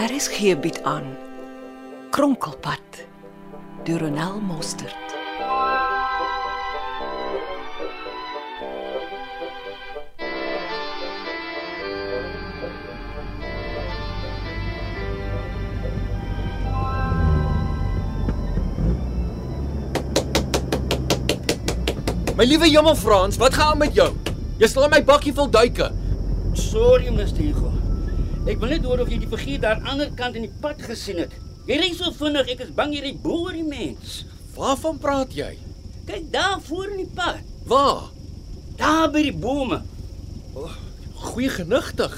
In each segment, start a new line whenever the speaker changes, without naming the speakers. RSG bied Er aan Kronkelpad deur Ronel Mostert.
My liewe Hemel Frans, wat gaan aan met jou? Jy slaan my bakkie vol duike.
Sorry, Mr. Hugo. Ek wil net hoor of jy die figuur daar aan die ander kant in die pad gesien het. Jy ry so vinnig, ek is bang jy ry boor die mens.
Waarvan praat jy?
Kyk daar voor in die pad,
Waar?
daar by die bome.
Goeie genigtig.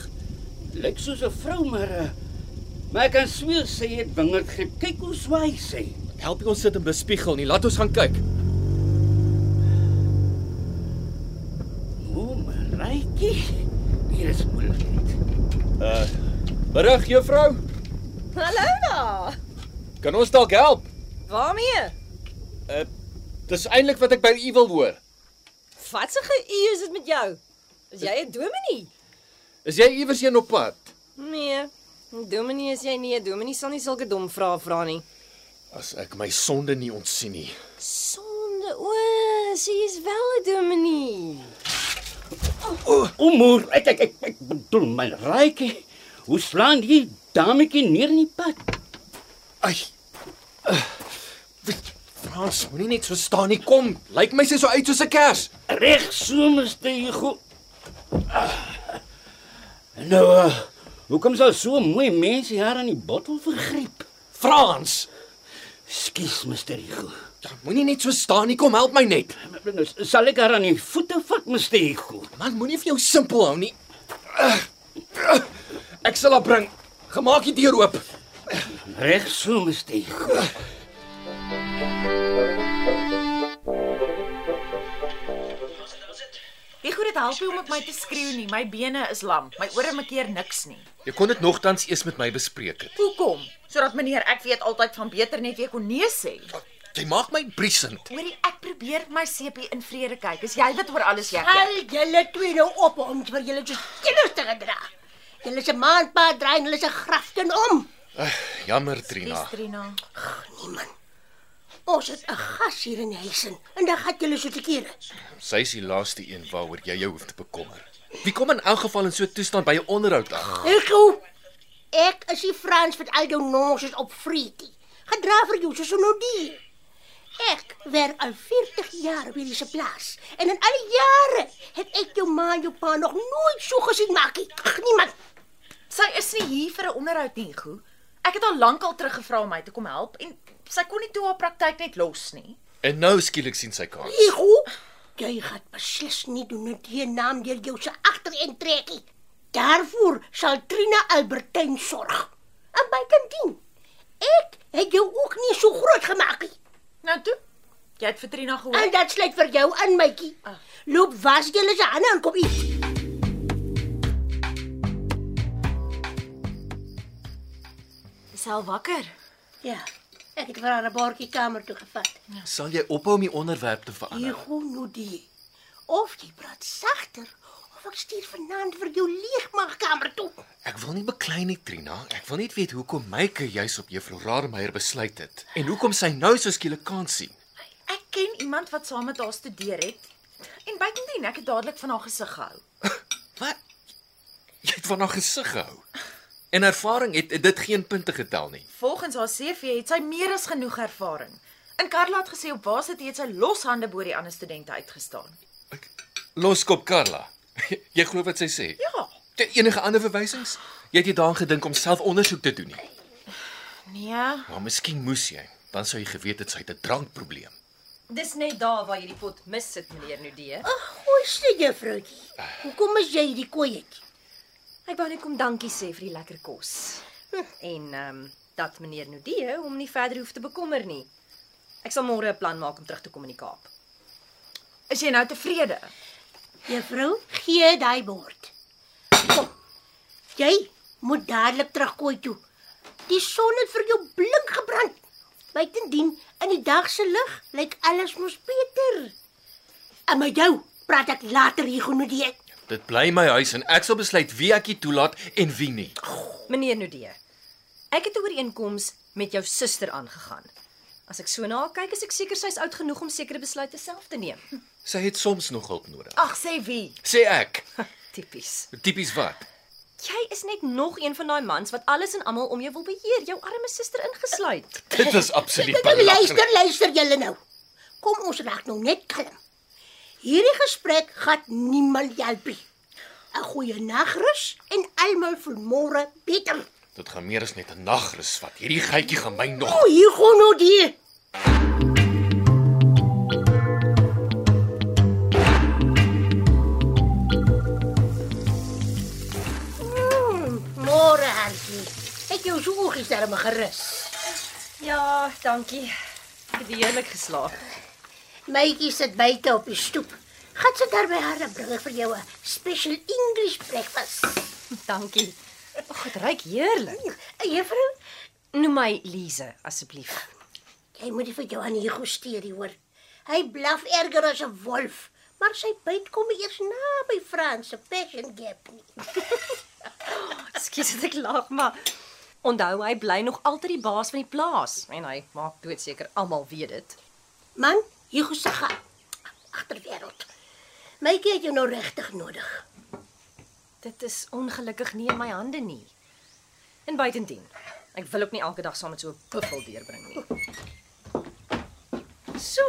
Lyk soos 'n vrou, maar uh, maar ek kan sweer sy het wingerd grip. Kyk hoe swaai sy.
Help jy ons sit en bespiegel nie. Laat ons gaan kyk.
O, my rykie. Hier is moeilikheid.
Uh, middag juffrou.
Hallo daar.
Kan ons dalk help?
Waarmee?
Dis eintlik wat ek by u wil hoor.
Wat se geu is dit met jou? Is jy 'n dominee?
Is jy iewers heen op pad?
Nee. 'n Dominee is jy nie. 'n Dominee sal nie sulke dom vrae vra nie.
As ek my sonde nie ontsien nie.
Sonde. O, sy is wel 'n dominee.
O, moer, ek ek ek, ek bedoel my rykie. Hoe slaan die dametjie neer in die pad?
Ai. Uh, Frans, moenie net so staan nie. Kom, lyk my sy so uit soos 'n kers.
Reg so Mr. Hugo. Ah. Nou, uh, hoekom sal so mooi mense haar aan die bottel vergriep?
Frans,
Skus Mr. Hugo.
moenie net so staan nie. Kom, help my net.
Nou, s- Sal ek haar aan die voete vat Mr. Hugo?
Man, moenie vir jou simpel hou nie. Ek sal haar bring. Gemaak die deur oop.
Reg so Mr. Hugo.
Ek hoor dit help nie om op my te skreeu nie. My bene is lam. My ore maak keer niks nie.
Jy kon dit nogtans eers met my bespreek het.
Hoekom? Sodat meneer, ek weet altyd van beter net wie ek kon nee sê.
Jy maak my briesend.
Hoorie, ek probeer my sepie in vrede kyk. Is jy wat oor alles jy?
Al julle twee nou op om vir julle te kinders te gedra. Julle se maanpa draai en hulle se grafte om.
Jammer Trina.
Trina.
Ons het 'n gas hier in die huis in en dan gaan julle so te kere.
Sy is die laaste een waaroor jy jou hoef te bekommer. Wie kom in elk geval in so 'n toestand by 'n onderhoud aan?
Ek gou. Ek is die Frans wat al jou nonsens op vreetie. Gedra vir jou soos nou die. Ek werk al 40 jaar op hierdie se plaas en in al die jare het ek jou ma en jou pa nog nooit so gesien maak nie. Ag, Niemand.
Sy is nie hier vir 'n onderhoud nie, Go. Ek het haar lankal terug gevra om my te kom help en sy kon nie toe haar praktyk net los nie.
En nou skielik sien sy kans.
Ego, jy gaan beslis nie doen dat jy naam deur jou se agter en trekkie. Daarvoor sal Trina Albertyn sorg. En bykantien, ek het jou ook nie so groot gemaak nie.
Nou toe. Jy het vir Trina gehoor.
En dit sluit vir jou in, mytjie.
Ah.
Loop was julle se hande en kom eet.
Is al wakker.
Ja. Ek het vir haar 'n bordjie kamer toe gevat.
Sal jy ophou om die onderwerp te verander?
Ego nudi. Of jy praat sagter of ek stuur vanaand vir jou leegmaakkamer toe.
Ek wil nie beklei nie Trina. Ek wil net weet hoekom Myke juis op Juffrou Rademeier besluit het en hoekom sy nou so skielik kans sien.
Ek ken iemand wat saam met haar studeer het. En buitendien, ek het dadelik van haar gesig gehou.
Wat? Jy het van haar gesig gehou. En ervaring het, het dit geen punte getel nie.
Volgens haar CV het sy meer as genoeg ervaring. In Karla het gesê op waar sit hy het sy loshande bo die ander studente uitgestaan.
Loskop Karla. Jy glo wat sy sê?
Ja.
Jy enige ander verwysings? Jy het nie daaraan gedink om self ondersoek te doen nie.
Nee,
Maar miskien moes jy, dan sou jy geweet het sy het 'n drankprobleem.
Dis net daar waar jy die pot mis sit, meneer Nudee.
Ag, goeie juffroutjie. Hoekom is jy die koeietjie?
Ek wou net kom dankie sê vir die lekker kos. En ehm um, dat meneer Nudee hom nie verder hoef te bekommer nie. Ek sal môre 'n plan maak om terug te kom in die Kaap.
Is jy nou tevrede?
Juffrou, gee daai bord. Kom. Jy moet dadelik terugkooi toe. Die son het vir jou blink gebrand. Buitendien in die dag se lig lyk alles mos beter. En met jou praat ek later hier genoeg die.
Dit bly my huis en ek sal besluit wie ek hier toelaat en wie nie.
Meneer Nudee, ek het 'n ooreenkoms met jou suster aangegaan. As ek so na haar kyk, is ek seker sy's oud genoeg om sekere besluite self te neem.
Sy het soms nog hulp nodig.
Ag, sê wie?
Sê ek.
Tipies.
Tipies wat?
Jy is net nog een van daai mans wat alles en almal om jou wil beheer, jou arme suster ingesluit.
Dit is absoluut belaglik.
Luister, luister julle nou. Kom ons raak nou net kalm. Hierdie gesprek gaan niemand help nie. 'n Goeie nagrus en almal vir môre beter.
Dit gaan meer as net 'n nagrus wat. Hierdie geitjie gaan my nog.
O, hier gaan nou die. Mm, Môre, Hansie. Ek jou so gister maar gerus.
Ja, dankie. Ek het heerlik geslaap.
Mytjie sit buite op die stoep. Gaan sit daar by haar en bring ek vir jou 'n special English breakfast.
Dankie. Ag, dit ruik heerlik.
Eh, Juffrou,
Noem my Lize asseblief.
jy moet nie vir jou aan Hugo steur nie, hoor. Hy blaf erger as 'n wolf, maar sy byt kom eers na by Frans se passion gap nie.
Ekskuus dat ek lag, maar onthou hy bly nog altyd die baas van die plaas en hy maak doodseker almal weet dit.
Man, Hugo se gaan agterwêreld. Mykie het jou nou regtig nodig.
Dit is ongelukkig nie in my hande nie. En buitendien, ek wil ook nie elke dag saam met so 'n buffel deurbring nie. So,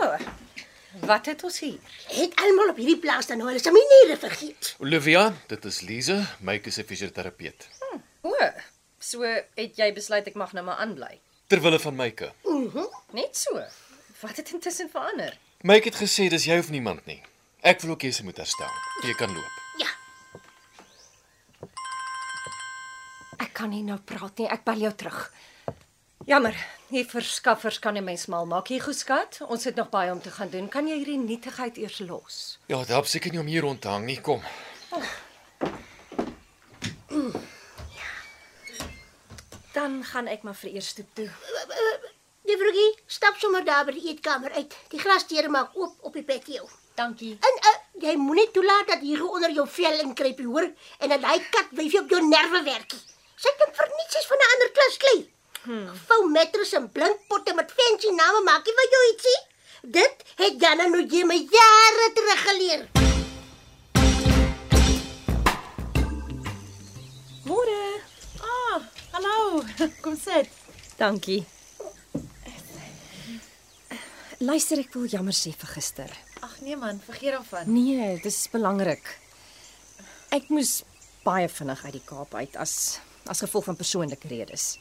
wat het ons hier?
Het almal op hierdie plaas dan nou hulle se maniere vergeet.
Olivia, dit is Lize, my se fisioterapeut.
O, so het jy besluit ek mag nou maar aanbly.
Terwille van Myke.
Net so. Wat het intussen verander?
Myke het gesê dis jy of niemand nie. Ek wil ook hê sy moet herstel. Jy kan loop.
Ja,
Ek kan nie nou praat nie. Ek bel jou terug. Jammer, hier verskaffers kan 'n mens mal maak. Hier geskat, ons het nog baie om te gaan doen. Kan jy hierdie nietigheid eers los?
Ja, dit help seker nie om hier rond te hang nie. Kom.
Dan gaan ek maar vir eers toe toe.
die vroegie stap sommer daar by die eetkamer uit. Die grasdeure maak oop op die patio.
Dankie.
En uh, jy moenie toelaat dat Hugo onder jou vel inkruip, jy hoor, en dat hy kat wyfie op jou nerve werkie. Sy dink vir niks is van 'n ander klas klei. Hmm. Vou mattress en blinkpotte met fancy name maak jy vir jou ietsie. Dit het Jana nou jy my jare terug geleer.
Môre.
Ah, hallo. Kom sit.
Dankie. Luister, ek wil jammer sê vir gister.
Ag nee man, vergeet daarvan.
Nee, dis belangrik. Ek moes baie vinnig uit die Kaap uit as as gevolg van persoonlike redes.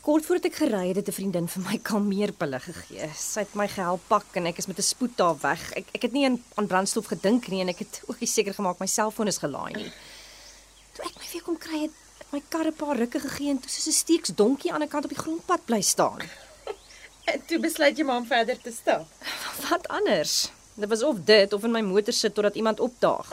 Kort voordat ek gery het, het 'n vriendin vir my kalmeerpille gegee. Sy het my gehelp pak en ek is met 'n spoed daar weg. Ek ek het nie aan, aan brandstof gedink nie en ek het ook nie seker gemaak my selfoon is gelaai nie. Toe ek my weer kom kry het, het my kar 'n paar rukke gegee en toe soos 'n steeksdonkie aan die ander kant op die grondpad bly staan.
En toe besluit jy maar om verder te stap.
Wat anders? Dit was of dit of in my motor sit totdat iemand opdaag.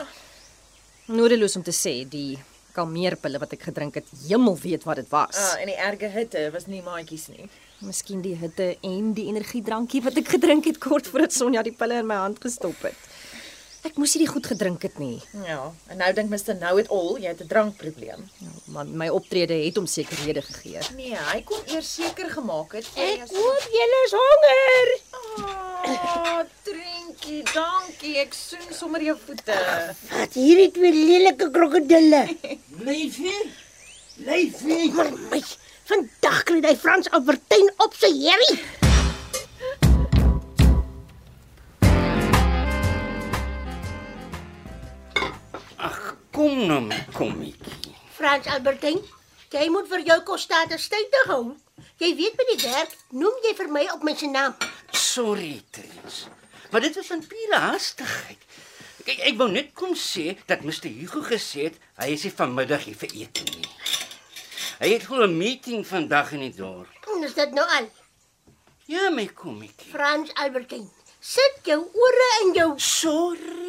Nodeloos om te sê die kalmeerpille wat ek gedrink het, hemel weet wat dit was.
Ah, in die erge hitte was nie maatjies nie.
Miskien die hitte en die energiedrankie wat ek gedrink het kort voordat Sonja die pille in my hand gestop het. Ek moes hierdie goed gedrink het nie.
Ja, en nou dink Mr. Know It All, jy het 'n drankprobleem.
Man, my optrede het hom sekerhede gegee.
Nee, hy kon eers seker gemaak het.
Ek hoop julle is honger.
Ah, drinkie, dankie. Ek soen sommer jou voete.
Wat hierdie twee lelike krokodille. Lyfie. Lyfie. Maar my, vandag kry hy Frans Albertyn op sy herrie.
Kom nou, my kommetjie.
Frans Albertyn, jy moet vir jou kostate stytig hou. Jy weet by die werk noem jy vir my op my se naam.
Sorry, Trins. Maar dit was in pure hastigheid. Ek Ek, ek wou net kom sê dat Mr Hugo gesê het hy is nie vanmiddag hier vir ete nie. Hy het glo 'n meeting vandag in die dorp.
Kom, is dit nou al?
Ja, my kommetjie.
Frans Albertine, sit jou ore in jou.
Sorry,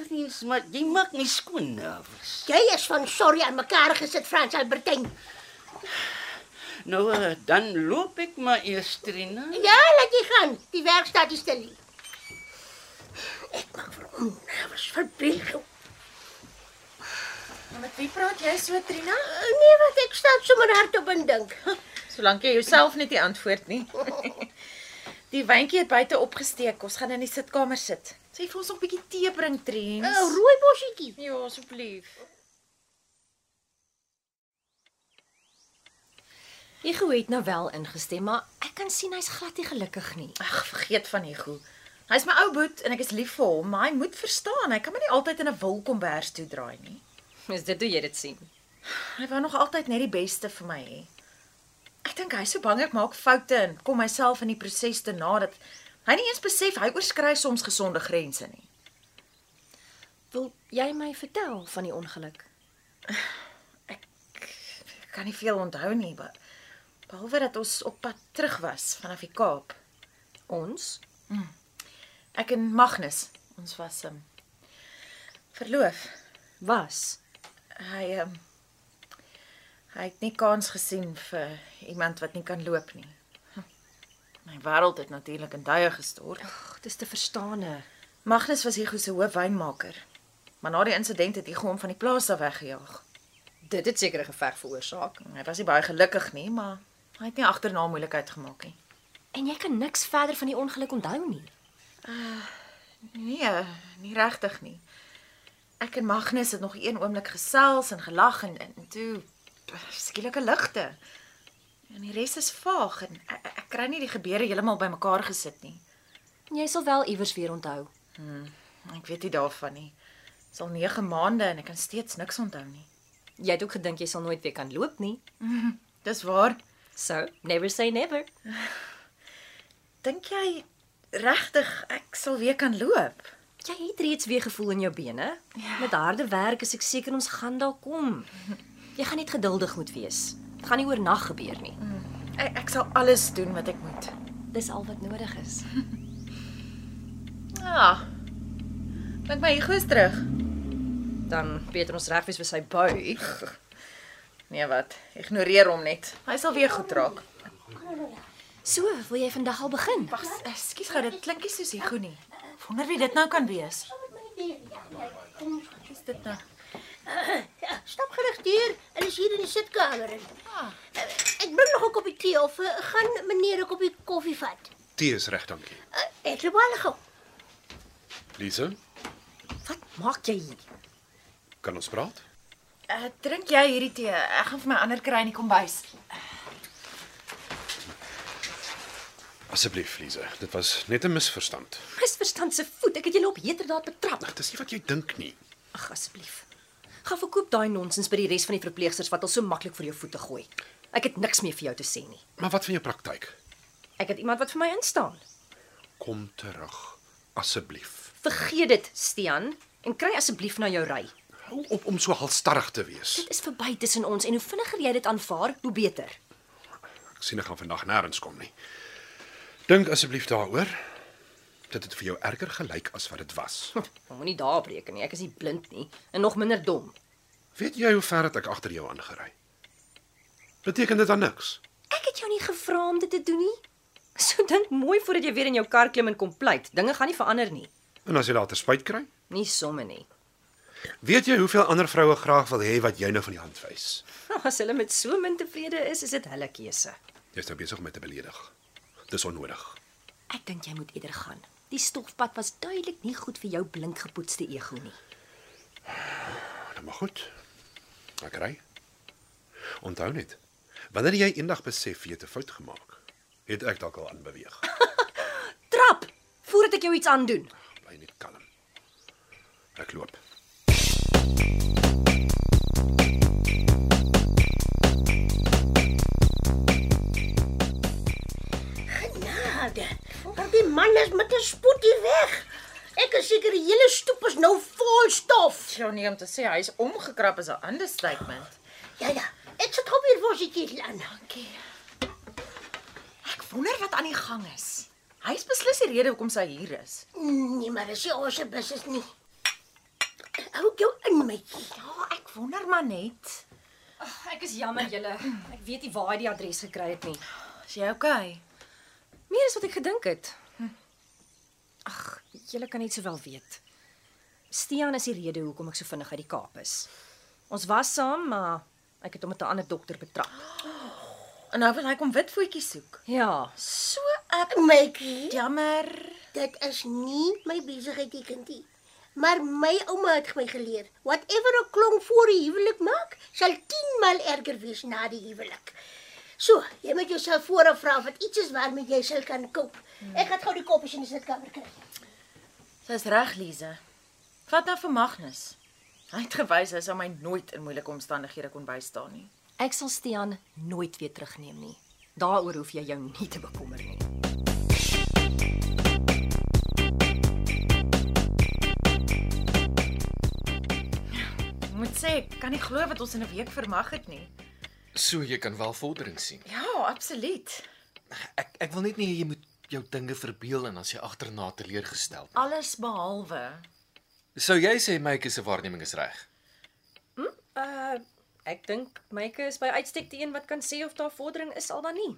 Tries, maar jy maak my skoon nervus.
Jy is van sorry aan mekaar gesit, Frans Albertine.
Nou eh, dan loop ek maar eers Trina.
Ja, laat jy gaan. Die werk staat nie stil nie. Ek maak vir hom nervus verbeel. jou.
Maar met wie praat jy so, Trina?
Nee, wat ek staan sommer hardop en dink.
Solank jy jouself net nie antwoord nie. die wyntjie het buite opgesteek. Ons gaan in die sitkamer sit. Sê vir ons nog 'n bietjie tee bring, Trien.
'n Rooi bosjetjie.
Ja, asseblief.
Hugo het nou wel ingestem, maar ek kan sien hy's glad nie gelukkig nie.
Ag, vergeet van Hugo. Hy's my ou boet en ek is lief vir hom, maar hy moet verstaan, hy kan my nie altyd in 'n wil kombers toe draai nie.
Is dit hoe jy dit sien?
Hy wou nog altyd net die beste vir my hê. Ek dink hy's so bang ek maak foute en kom myself in die proses te na dat hy nie eens besef hy oorskry soms gesonde grense nie.
Wil jy my vertel van die ongeluk?
Ek kan nie veel onthou nie, maar behalwe dat ons op pad terug was vanaf die Kaap.
Ons?
Ek en Magnus, ons was um, verloof.
Was.
Hy um, hy het nie kans gesien vir iemand wat nie kan loop nie. Hm. My wêreld het natuurlik in duie gestort.
Ag, dis te verstaane.
Magnus was Hugo se hoof wynmaker. Maar na die insident het Hugo hom van die plaas af weggejaag.
Dit het seker 'n geveg veroorsaak.
Hy was nie baie gelukkig nie, maar hy het nie agterna moeilikheid gemaak nie.
En jy kan niks verder van die ongeluk onthou nie.
Nee, nie regtig nie. Ek en Magnus het nog een oomblik gesels en gelag en en, en toe pff, skielike ligte. En die res is vaag en ek, ek- ek kry nie die gebeure heeltemal bymekaar gesit nie.
Jy sal wel iewers weer onthou.
Ek weet nie daarvan nie. Dit is al 9 maande en ek kan steeds niks onthou nie.
Jy het ook gedink jy sal nooit weer kan loop nie.
Dis waar.
So, never say never.
Dink jy regtig ek sal weer kan loop?
Jy het reeds weer gevoel in jou bene. Ja. Met harde werk is ek seker ons gaan daar kom. Jy gaan net geduldig moet wees. Dit gaan nie oornag gebeur nie.
Ek, ek sal alles doen wat ek moet.
Dis al wat nodig is.
Ja. Dink my Hugo is terug.
Dan beter ons reg wees vir sy bui.
Nee, wat? Ignoreer hom net. Hy sal weer goed raak.
So, wil jy vandag al begin?
Wag, ekskuus eh, gou, dit klink nie soos Hugo nie. Ek Wonder wie dit nou kan wees. Wat is dit nou?
Stap gereg deur. Hulle is hier in die sitkamer. in. Eh, Ek bring nog 'n koppie tee of eh, gaan meneer 'n koppie koffie vat.
Tee is reg, dankie.
Eh, Ek loop al gou.
Lise,
Wat maak jy hier?
kan ons praat?
Uh, drink jy hierdie tee? Ek gaan vir my ander kry in die kombuis.
Asseblief, Lise. Dit was net 'n misverstand.
Misverstand se voet. Ek het julle op heterdaad betrap.
Ag, dis nie wat jy dink nie.
Ag asseblief. Gaan verkoop daai nonsens by die res van die verpleegsters wat al so maklik vir jou voete gooi. Ek het niks meer vir jou te sê nie.
Maar wat van jou praktyk?
Ek het iemand wat vir my instaan.
Kom terug, asseblief.
Vergeet dit, Stean, en kry asseblief na jou ry.
Hou op om so halstarrig te wees.
Dit is verby tussen ons en hoe vinniger jy dit aanvaar, hoe beter.
Ek sien ek gaan vandag nêrens kom nie. Dink asseblief daaroor. Dit het vir jou erger gelyk as wat dit was.
Moenie daarop reken nie. Ek is nie blind nie en nog minder dom.
Weet jy hoe ver het ek agter jou aangery? Beteken dit dan niks?
Ek het jou nie gevra om dit te doen nie. So dink mooi voordat jy weer in jou kar klim en kom pleit. Dinge gaan nie verander nie.
En as jy later spyt kry?
Nie somme nie.
Weet jy hoeveel ander vroue graag wil hê wat jy nou van die hand wys?
As hulle met so min tevrede is, is dit hulle keuse.
Jy's nou besig om my te beledig. Dis onnodig.
Ek dink jy moet eerder gaan. Die stofpad was duidelik nie goed vir jou blink gepoetste ego nie.
Nou maar goed. Ek ry. Onthou net. Wanneer jy eendag besef jy het 'n fout gemaak, het ek dalk al aanbeweeg.
Trap, voordat ek jou iets aandoen.
Bly net kalm. Ek loop.
Eh, Genade. Maar die man is met 'n spoed hier weg. Ek is seker die hele stoep is nou vol stof.
Jou nie nee, om te sê hy is omgekrap is 'n ander statement.
Ja ja, ek sit hom weer vir sy ketel aan.
Dankie. Ek wonder wat aan die gang is. Hy is beslis die rede hoekom sy hier is.
Nee, maar dis nie ons se bus is nie. Hou jou in my.
Ja, ek wonder maar net.
Ek is jammer julle. Ek weet nie waar hy die adres gekry het nie.
Is jy okay?
Meer as wat ek gedink het. Ag, julle kan net sowel weet. Stian is die rede hoekom ek so vinnig uit die Kaap is. Ons was saam, maar ek het hom met 'n ander dokter betrap.
En nou wil hy kom witvoetjies soek.
Ja,
So 'n
Mykie,
jammer.
dit is nie my besigheid nie, kindie. Maar my ouma het my geleer, whatever 'n klomp voor die huwelik maak, sal 10 maal erger wees na die huwelik. So, jy moet jouself vooraf vra wat iets is waarmee jy sal kan koop. Ek gaan gou die koppies in die sitkamer kry.
Sy's reg, Lize. Vat nou vir Magnus. Hy het gewys hy sou my nooit in moeilike omstandighede kon bystaan nie.
ek sal Stian nooit weer terugneem nie. Daaroor hoef jy jou nie te bekommer nie.
Ek moet sê, ek kan nie glo wat ons in 'n week vermag het nie.
So jy kan wel vordering sien.
Ja, absoluut.
Ek ek wil net nie jy moet jou dinge verbeel en as jy agterna teleurgestel word.
Alles behalwe.
Sou jy sê Mykie se waarneming is reg?
Uh, ek dink Myke is by uitstek die een wat kan sê of daar vordering is al dan nie.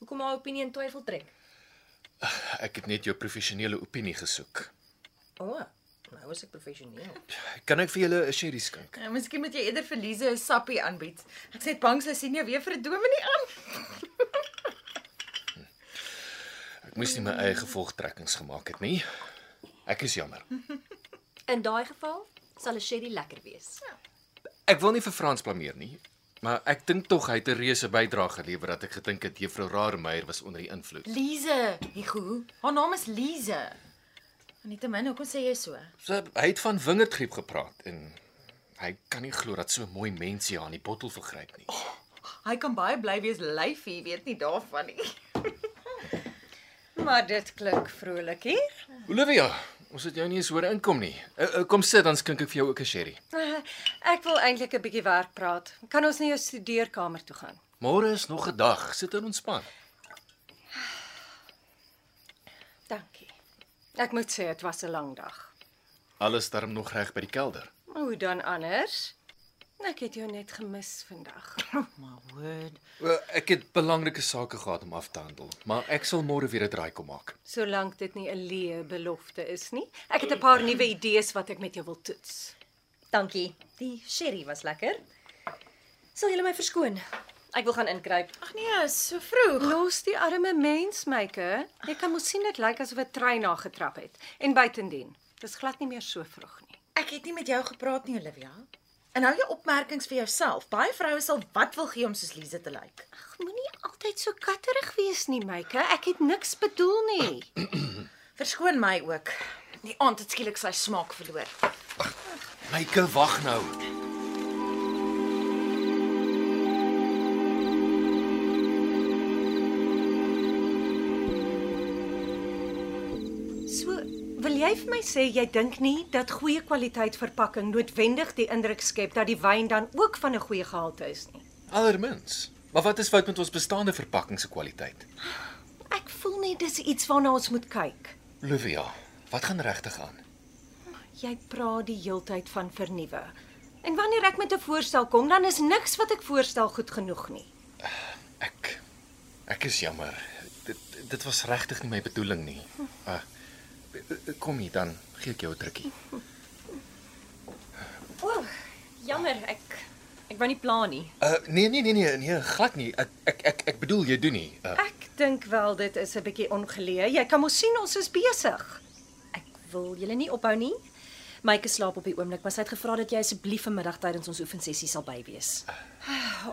Hoekom haar opinie in twyfel trek?
Ek het net jou professionele opinie gesoek.
O, oh, nou is ek professioneel.
Kan ek vir julle 'n sherry skink?
Nou, miskien moet jy eerder vir Lize 'n sappie aanbied. Ek sê bang sy sien jou weer vir 'n dominee aan.
Ek moes nie my eie gevolgtrekkings gemaak het nie. Ek is jammer.
In daai geval sal 'n sherry lekker wees.
Ek wil nie vir Frans blameer nie, maar ek dink tog hy het 'n reuse bydrae gelewer dat ek gedink het Juffrou Raremeier was onder die invloed.
Lize, Hugo. Haar naam is Lize. En nietemin, hoekom sê jy so?
So, hy het van wingerdgriep gepraat en hy kan nie glo dat so 'n mooi mens hier aan die bottel vergryp nie.
Hy kan baie bly wees lyfie, weet nie daarvan nie.
Maar dit klink vrolikie.
Olivia, ons het jou nie eens hoor inkom nie. Uh, uh, kom sit dan skink ek vir jou ook 'n sherry.
Eh, Ek wil eintlik 'n bietjie werk praat. Kan ons nie jou studeerkamer toe gaan?
Môre is nog 'n dag. Sit en ontspan.
Dankie. Ek moet sê dit was 'n lang dag.
Alles darm nog reg by die kelder.
Hoe dan anders? Ek het jou net gemis vandag.
Maar word.
Wel, ek het belangrike sake gehad om af te handel, maar ek sal môre weer 'n draai kom maak.
Solank dit nie 'n leë belofte is nie. Ek het 'n paar nuwe idees wat ek met jou wil toets.
Dankie. Die sherry was lekker. Sal julle my verskoon? Ek wil gaan inkruip.
Ag nee, so vroeg.
Los die arme mens, myke. Jy kan mos sien dit lyk asof 'n trein na getrap het. En buitendien, dis glad nie meer so vroeg nie.
Ek het nie met jou gepraat nie, Olivia. En hou jou opmerkings vir jouself. Baie vroue sal wat wil gee om soos Lize te lyk.
Ag, moenie altyd so katterig wees nie, myke. Ek het niks bedoel nie.
Verskoon my ook. Die aand het skielik sy smaak verloor.
Myke, wag nou.
So, wil jy vir my sê jy dink nie dat goeie kwaliteit verpakking noodwendig die indruk skep dat die wyn dan ook van 'n goeie gehalte is nie?
Allermins. Maar wat is fout met ons bestaande verpakking se kwaliteit?
Ek voel net dis iets waarna ons moet kyk.
Olivia, wat gaan regtig aan?
Jy praat die heeltyd van vernuwe. En wanneer ek met 'n voorstel kom, dan is niks wat ek voorstel goed genoeg nie.
Ek ek is jammer. Dit dit was regtig nie my bedoeling nie. Uh, kom hier dan, gee ek jou 'n drukkie.
O, oh, jammer, ek ek wou nie plan nie.
Uh nee nee nee nee, nee glad nie. Ek ek ek, ek bedoel jy doen nie. Uh,
Ek dink wel dit is 'n bietjie ongeleë. Jy kan mos sien ons is besig.
Ek wil julle nie ophou nie. Myke slaap op die oomblik, maar sy het gevra dat jy asseblief vanmiddag tydens ons oefensessie sal by wees.
Ah,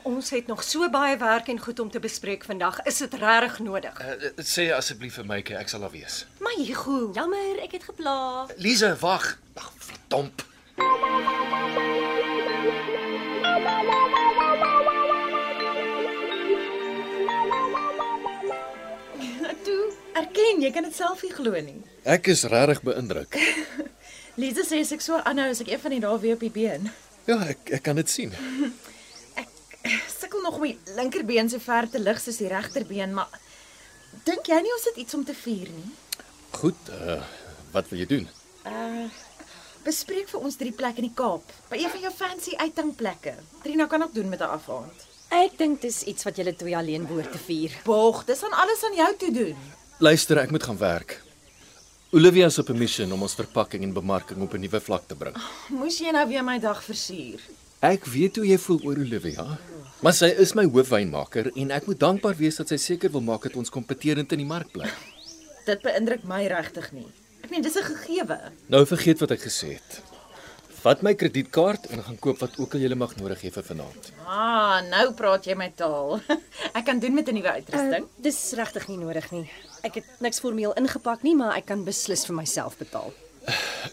Ons het nog so baie werk en goed om te bespreek vandag. Is dit regtig
Eh.
nodig?
uh, sê asseblief vir my, ek sal daar wees.
Maar Hugo,
Jammer, ek het geplaag.
Lize, wag. Ag, verdomp.
Toe, erken, jy kan dit self nie glo nie.
Ek is regtig beïndruk.
Lize sê as ek so aanhou, as ek een van die dae weer op die been.
Ja, ek ek kan dit sien.
Sukkel nog om die linkerbeen so ver te lig soos die regterbeen, maar dink jy nie ons het iets om te vier nie?
Goed, uh wat wil jy doen?
Bespreek vir ons drie plekke in die Kaap, by een van jou fancy uitgangplekke. Trina kan ook doen met 'n afaand.
Ek dink dis iets wat julle twee alleen behoort te vier.
Bog, dis aan alles aan jou toe doen.
Luister, ek moet gaan werk. Olivia se permission om ons verpakking en bemarking op 'n nuwe vlak te bring.
Moes jy nou weer my dag versuur?
Ek weet hoe jy voel oor Olivia, maar sy is my hoofwynmaker en ek moet dankbaar wees dat sy seker wil maak dat ons kompeterend in die mark bly.
Dit beïndruk my regtig nie. Ek meen, dis 'n gegewe.
Nou vergeet wat ek gesê het. Vat my kredietkaart en gaan koop wat ook al jy mag nodig hê vir vanaand.
Ah, nou praat jy my taal. ek kan doen met 'n nuwe uitrusting.
Uh, dis regtig nie nodig nie. Ek het niks formeel ingepak nie, maar ek kan beslis vir myself betaal.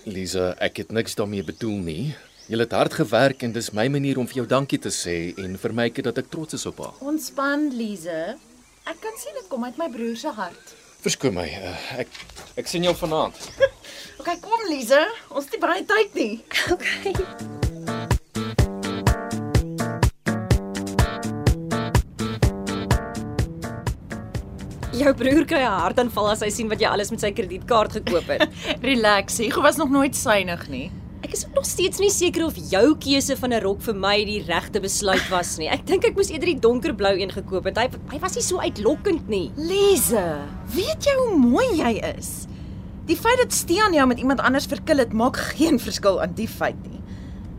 Lisa, ek het niks daarmee bedoel nie. Jy het hard gewerk en dis my manier om vir jou dankie te sê en vir my kyk dat ek trots is op haar.
Eh, Ontspan, Lize. Ek kan sien dit kom uit my broer se hart.
Verskoon my, eh, ek ek sien jou vanaand.
OK, kom Lize, ons het nie baie tyd nie.
Jou broer kry 'n hartaanval as hy sien wat jy alles met sy kredietkaart gekoop het.
Relax, Hugo was nog nooit synig nie.
Ek is ook nog steeds nie seker of jou keuse van 'n rok vir my die regte besluit was nie. Ek dink ek moes eerder die donkerblou een gekoop het. Hy hy was nie so uitlokkend nie.
Lize, weet jy hoe mooi jy is? Die feit dat Stean jou met iemand anders verkil het, maak geen verskil aan die feit nie.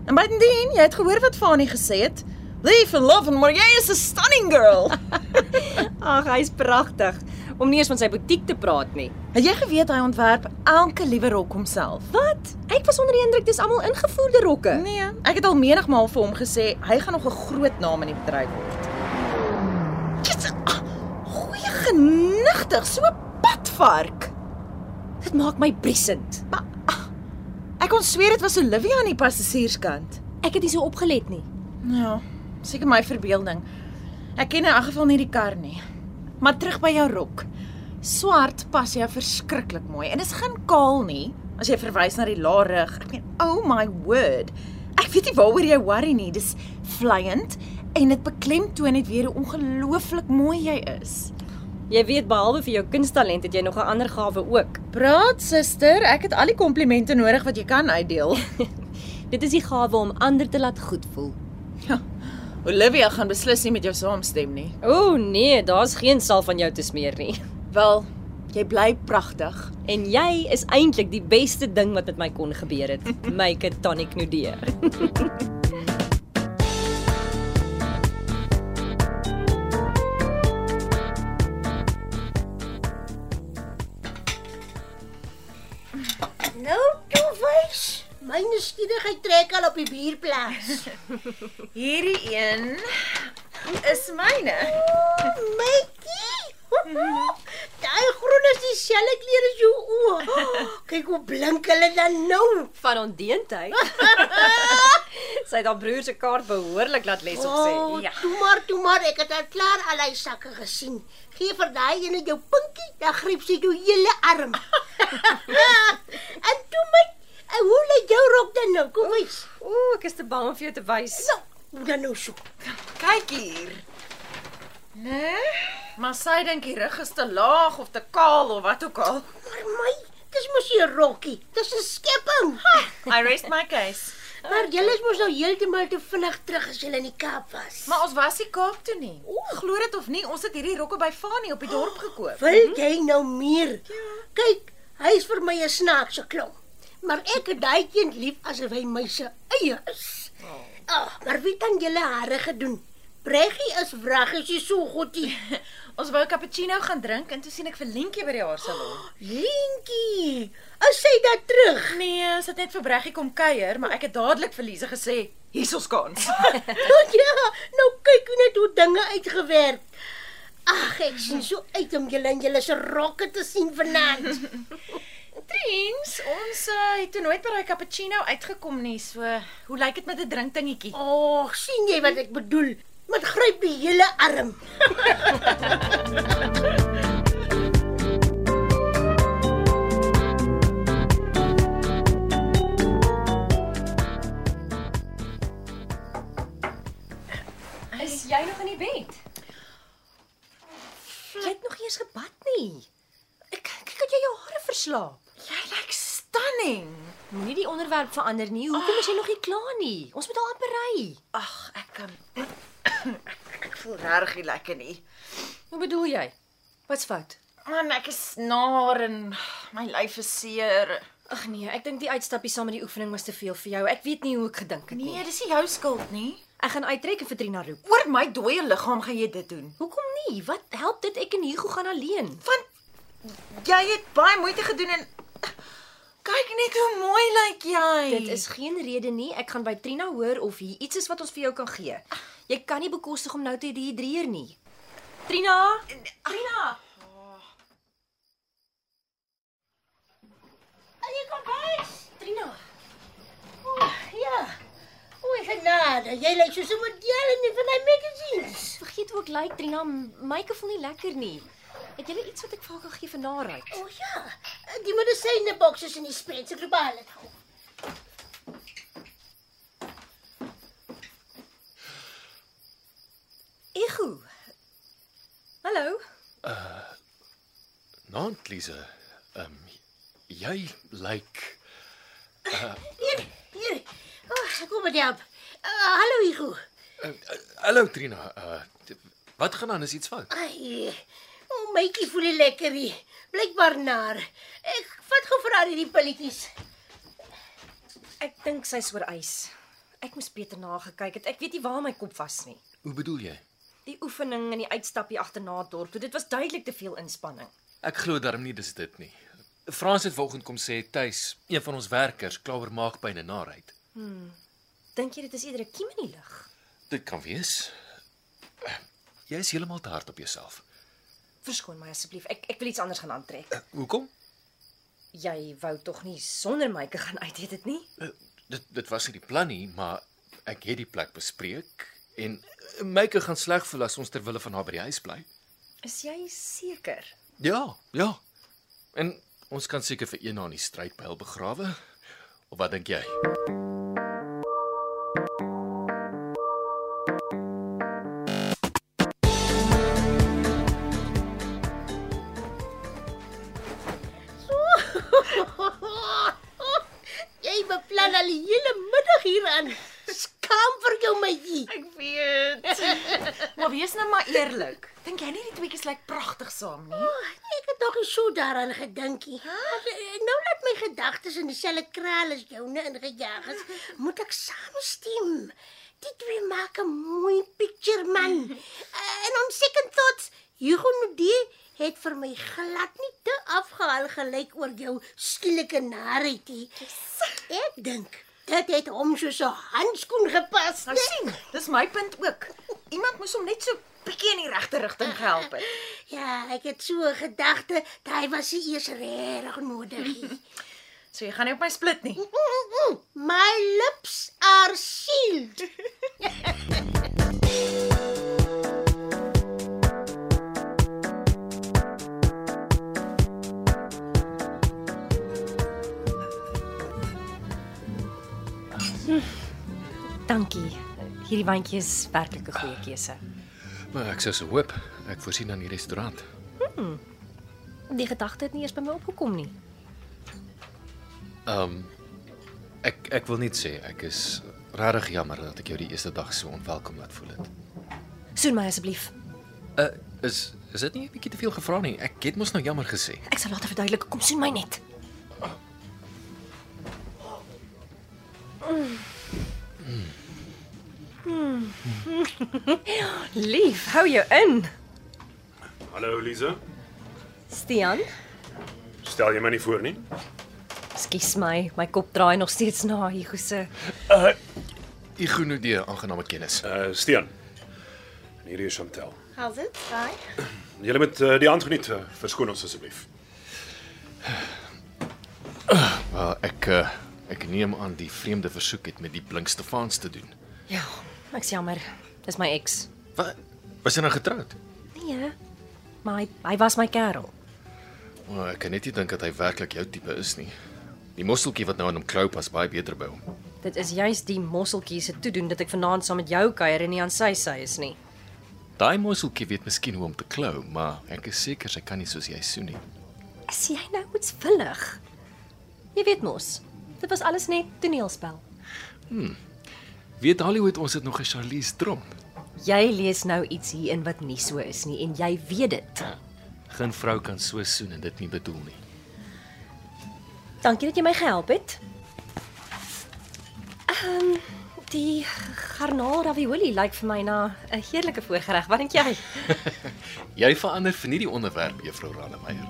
En buitendien, jy het gehoor wat Fanie gesê het. Leave and love and Marie is a stunning girl.
Ag, hy's pragtig. Om nie eens van sy butiek te praat nie.
het jy geweet hy ontwerp elke liewe rok homself?
Wat? Ek was onder die indruk dis almal ingevoerde rokke.
Nee, ek het al menigmaal vir hom gesê hy gaan nog 'n groot naam in die bedryf word. Jesus, ah, Goeie genigtig, so 'n padvark.
Dit maak my briesend.
Maar ah, ek kon sweer dit was Olivia aan die passasierskant.
Ek het nie so opgelet nie.
Ja, seker my verbeelding. Ek ken in elk geval nie die kar nie. Maar terug by jou rok. Swart pas jou verskriklik mooi en dis geen kaal nie. As jy verwys na die lae rug, ek meen, oh my word. Ek weet nie waaroor jy worry nie. Dis vleiend en dit beklemtoon net weer hoe ongelooflik mooi jy is.
Jy weet behalwe vir jou kunsttalent het jy nog 'n ander gawe ook.
Praat suster, ek het al die komplimente nodig wat jy kan uitdeel.
Dit is die gawe om ander te laat goed voel.
Olivia gaan beslis nie met jou saamstem nie.
O oh, nee, daar's geen sal van jou te smeer nie.
Wel, jy bly pragtig.
En jy is eintlik die beste ding wat met my kon gebeur het. Make it tonic nou nudee.
Nou, toe wys. My nuuskierigheid trek al op die bierplaas.
Hierdie een is myne.
Maatjie. Daai groen is dieselfde kleur as jou oë. Kyk hoe blink hulle dan nou.
Van ondeentheid. Sy het haar broer se kaart behoorlik laat les
Oh,
ja.
toe maar, toe maar, ek het al klaar al hy sakke gesien. Gee vir daai ene jou pinkie, dan gryp sy jou hele arm. en toe my, en hoe lê jou rok dan nou? Kom eens.
Ooh, ek is te bang om vir jou te wys.
Nou, hoe dan nou so?
Kyk hier. Nee, maar sy dink die rug is te laag of te kaal of wat ook al.
Maar my, dis mos 'n rokkie. Dis 'n skepping.
I rest my case.
Maar julle is mos nou heeltemal te vinnig terug as julle in die Kaap was.
Maar ons was nie Kaap toe nie. Glo dit of nie, ons het hierdie rokke by Fanie op die dorp gekoop.
Wil jy nou meer? Kyk, hy is vir my 'n snaakse klomp. Maar ek het daai kind lief asof hy my se eie is. Ag, oh. maar wie dan julle hare gedoen? Breggie is wraggie so goedie.
Ons wou cappuccino gaan drink en toe sien ek vir Lentjie by die haarsalon.
Lentjie, as sy daar terug.
Nee, sy het net vir Breggie kom kuier, maar ek het dadelik vir Lize gesê, hier's ons kans.
Nou ja, nou kyk hoe net hoe dinge uitgewerk. Ag, ek sien so uit om julle in julle se rokke te sien vanaand.
Triens, ons uh, het toe nooit by daai cappuccino uitgekom nie, so hoe lyk dit met 'n drinkdingetjie?
Ag, Oh, sien jy wat ek bedoel? Met gryp die hele arm.
jy nog in die bed? Jy het nog nie eens gebad nie. Ek kyk dat jy jou hare verslaap.
Jy lyk stunning.
Moenie die onderwerp verander nie. Hoekom is jy nog nie klaar nie? Ons moet al amper ry.
Ag, ek kan ek, ek voel regtig nie lekker nie.
Hoe bedoel jy? Wat's fout?
Man, ek is naar en my lyf is seer.
Ag nee, ek dink die uitstappie saam met die oefening was te veel vir jou. Ek weet nie hoe ek gedink het nie.
Nee, dis nie jou skuld nie.
Ek gaan uittrek en vir Trina roep.
Oor my dooie liggaam gaan jy dit doen.
Hoekom nie? Wat help dit ek en Hugo gaan alleen?
Want jy het baie moeite gedoen en kyk net hoe mooi lyk jy.
Dit is geen rede nie. Ek gaan by Trina hoor of hier iets is wat ons vir jou kan gee. Jy kan nie bekostig om nou te dehidreer nie. Trina,
Trina.
Allee, kom huis, Trina. O, ja. O, genade, jy lyk soos 'n model in een van die magazines.
vergeet ook lyk like, Trina, myke voel nie lekker nie. Het jy iets wat ek vir haar kan gee vir naait?
O ja, die medisyne boksies in die Spencer Global het gehou.
Ego. Hallo.
Naand Lize, ehm jy lyk
Hier, hier. O, oh, kom maar help. Uh, hallo Hugo.
eh, eh, Hallo Trina, uh wat gaan aan? Is iets fout?
Ai. O, oh, mytjie voel nie lekker nie. Blykbaar naar. Ek vat gou vir haar hierdie pilletjies.
Ek dink sy's oor ys. Ek moes beter na gekyk het. Ek weet nie waar my kop was nie.
Hoe bedoel jy?
Die oefening en die uitstappie agterna dorp, toe, dit was duidelik te veel inspanning.
Ek glo darm nie dis dit nie. Frans het vanoggend kom sê tuis, een van ons werkers kla oor maagpyn en naait.
Dink jy dit is eerder 'n kiem in die lug?
Dit kan wees. Eh, Jy is heeltemal te hard op jouself.
Verskoon my asseblief. Ek ek wil iets anders gaan aantrek.
Eh, Hoekom?
Jy wou tog nie sonder my kan gaan uit het dit nie?
Eh, Dit dit was nie die plan nie, maar ek het die plek bespreek en eh, myke gaan sleg voel as ons ter wille van haar by die huis bly.
Is jy seker?
Ja, ja. En ons kan seker vir een aan die strydpyl begrawe. Of wat dink jy?
jy beplan al die hele middag hier aan. Skam vir jou mytjie.
Ek weet. maar wees nou maar eerlik. Dink jy nie die tweeetjies lyk pragtig saam nie?
Oh, Ek het nog nie so daaraan gedink nie. As, eh, Nou laat my gedagtes in dieselfde kraal as joune ingejaag is, moet ek saamstem. Die twee maak 'n mooi picture man. Eh, En on second thoughts, Hugo Nudie het vir my glad nie te afgehaal gelyk oor jou skielike narigheid. Ek dink dit het hom soos 'n handskoen gepas.
Nou sien, dis my punt ook. Iemand moes hom net so bietjie in die regte rigting gehelp het.
Ja, ek het so 'n gedagte, daai was nie eers regtig nodig nie.
So jy gaan nie op my split nie.
Mm-mm-mm. My lips are sealed.
Dankie. Hierdie wandjie is werklik 'n goeie keuse.
Maar ek sou se hoop ek voorsien aan die restaurant.
Die gedagte het nie eers by my opgekom nie.
Ehm um, ek ek wil net sê ek is regtig jammer dat ek jou die eerste dag so onwelkom laat voel het.
Soen my asseblief.
Uh is is dit nie 'n bietjie te veel gevra nie? Ek het mos nou jammer gesê.
Ek sal later verduidelik. Kom soen my net. Mm. Mm. Lief, hou jou in.
Hallo Lize.
Stian,
Stel jy my nie voor nie?
skus my, my kop draai nog steeds na Hugo se.
Igunodee, aangename kennis.
Uh Steen. En Hier is Chantel.
How's it? Hi.
Jy moet uh, die hand geniet. Uh, verskoon ons asseblief.
Wel, ek uh, ek neem aan die vreemde versoek het met die blink Stefans te doen.
Ja, ek's jammer. Dis my ex.
Wat? Was hy nou getroud?
Nee. Maar hy hy was my kerel.
O, ek kan net nie dink dat hy werklik jou tipe is nie. Die mosseltjie wat nou aan hom klou pas baie beter by hom.
Dit is juis die mosseltjie se toedoen dat ek vanaand saam met jou kuier en nie aan sy sy is nie.
Daai mosseltjie weet miskien hoe om te klou, maar ek is seker sy kan nie soos jy soen nie.
Is jy nou iets vullig? Jy weet mos, dit was alles net toneelspel.
Weet Hollywood ons het nog 'n Charlize Theron.
Jy lees nou iets hierin wat nie so is nie en jy weet dit.
Geen vrou kan so soen en dit nie bedoel nie.
Dankie dat jy my gehelp het. Ehm um, die garnaal ravioli lyk vir my na 'n heerlike voorgereg. Wat dink jy?
Jy verander vir nie die onderwerp, Juffrou Rannemeier.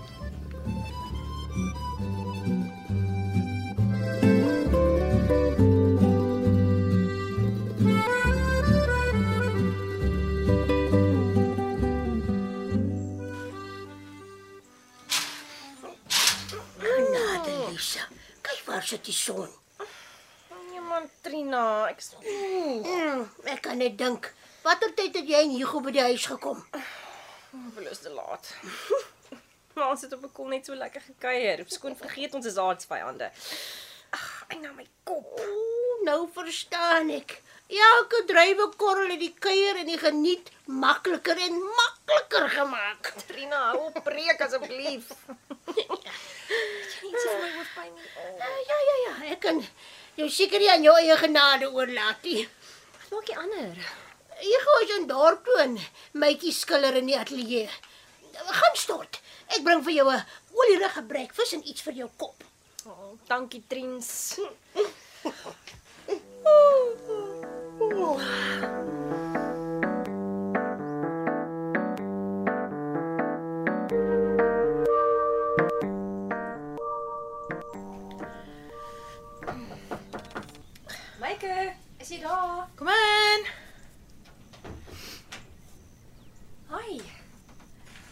Ah. Lisa, kyk waar sit die son.
Ja,
Nee man, Trina, ek is
Mm, ek kan net dink, watter tyd het jy en Hugo by die huis gekom?
bewus te laat. maar ons het op 'n kol net so lekker gekuier. Skoon vergeet ons is aardsvyande. Ag, ai nou my kop.
Ooh, nou verstaan ek. Elke druiwekorrel het die kuier en die geniet makliker en makliker gemaak. Eh,
Trina, hou op preek asseblief. Iets vir my hoofpyn.
Uh, ja ja ja, ek kan jou seker nie aan jou eie genade oorlaat nie.
Wat maak die ander?
Hugo is in dorp toe en mytjie skilder in die ateljee. Gaan stort. Ek bring vir jou 'n olierige breakfast en iets vir jou kop.
Oh, dankie Triens.
Myke, is jy daar?
Kom in.
Hi.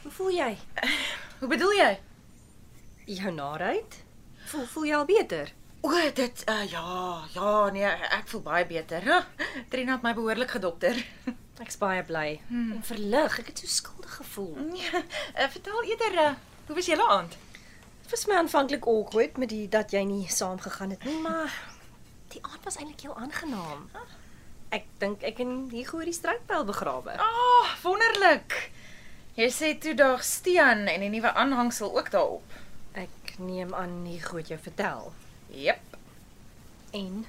Hoe voel jy?
Hoe bedoel jy?
Jou naheid? Voel voel jy al beter?
O, dit uh, ja, ja, nee, ek voel baie beter. Huh? Trina het my behoorlik gedokter.
Ek's baie bly hmm. en verlig. Ek het so skuldig gevoel.
Nee, uh, vertel eerder, uh, hoe was julle aand?
Dit was my aanvanklik awkward met die dat jy nie saam gegaan het nie, maar die aand was eintlik heel aangenaam. Ek dink ek en Hugo het die strydpyl begrawe.
Ah, oh, wonderlik. Jy sê toe daag Stean en die nuwe aanhangsel ook daarop.
Ek neem aan Hugo het jou vertel.
Jep.
En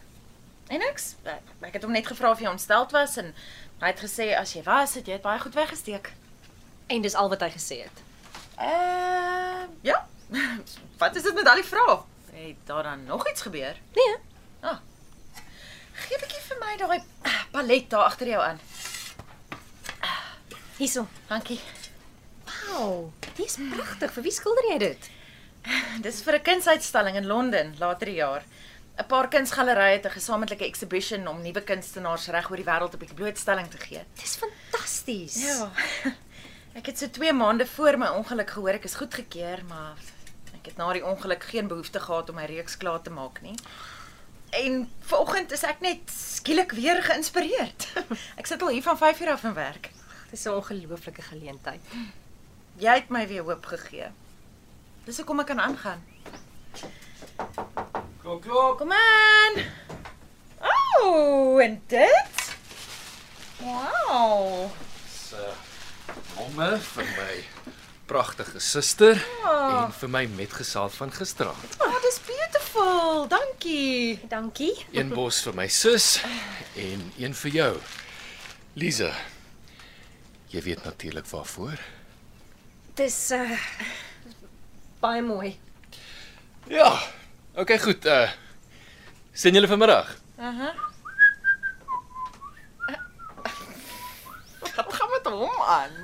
En niks. Ek, ek het hom net gevra of jy ontsteld was en hy het gesê as jy was, het jy dit baie goed weggesteek.
en dis al wat hy gesê het.
Uh, ja. Wat is dit met al die vrae? Het daar dan nog iets gebeur? Ah.
Nee,
Gee 'n bietjie vir my daai ah, palet daar agter jou aan.
hierso.
Dankie.
Wow, dis pragtig. Vir wie skilder jy dit?
Dis vir 'n kunsuitstalling in Londen later die jaar. 'n Paar kunsgalerye het 'n gesamentlike exhibition om nuwe kunstenaars reg oor die wêreld 'n bietjie blootstelling te gee.
Dis fantasties.
Ja.
Ek het so 2 maande voor my ongeluk gehoor ek is goedgekeur, maar ek het na die ongeluk geen behoefte gehad om my reeks klaar te maak nie. En vanoggend is ek net skielik weer geïnspireerd. Ek sit al hier van 5 uur af in werk.
dis 'n ongelooflike geleentheid.
Jy het my weer hoop gegee. Dis hoekom ek kan aangaan.
Klok klok.
Kom aan. Ooh, en dit? Wow.
se name eh, vir my pragtige suster oh. en vir my metgesaal van gisteraand.
Oh, dis beautiful. Dankie.
Dankie.
Een bos vir my sus en een vir jou. Lize. Jy weet natuurlik waarvoor.
Dis uh baie mooi.
Ja. OK, goed. Uh sien julle vanmiddag.
Wat gaan met hom aan?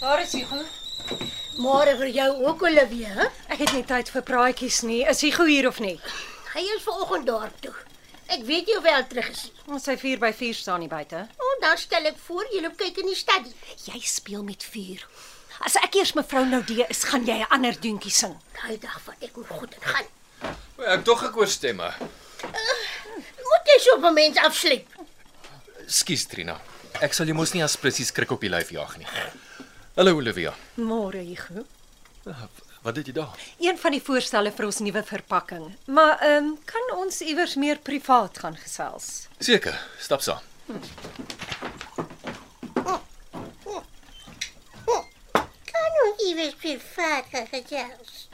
Waar is Hugo?
Môre vir jou ook Olivia. hè?
Ek het nie tyd vir praatjies nie. Is Hugo hier of nie?
Hy is vanoggend dorp toe. Ek weet jy wel terug is.
Ons sy 4 by 4 staan nie buite.
O, oh, dan stel ek voor jy loop kyk in die stad.
Jy speel met vuur.
As ek eers mevrou Noudee is, gaan jy 'n ander deuntjie sing.
Daai dag vat ek moet goed en gaan.
Ek tog ek oorstem.
Uh, op 'n mens afsleep.
Skus Trina. Ek sal jou mos nie as presies skrik op die lyf jaag nie. Hallo Olivia.
Môre, Hugo.
Wat het jy daar?
Een van die voorstelle vir ons nuwe verpakking. Maar ehm um, kan ons iewers meer privaat gaan gesels?
Seker, stap saam.
Hm. Kan nou iewers privaat gaan gesels.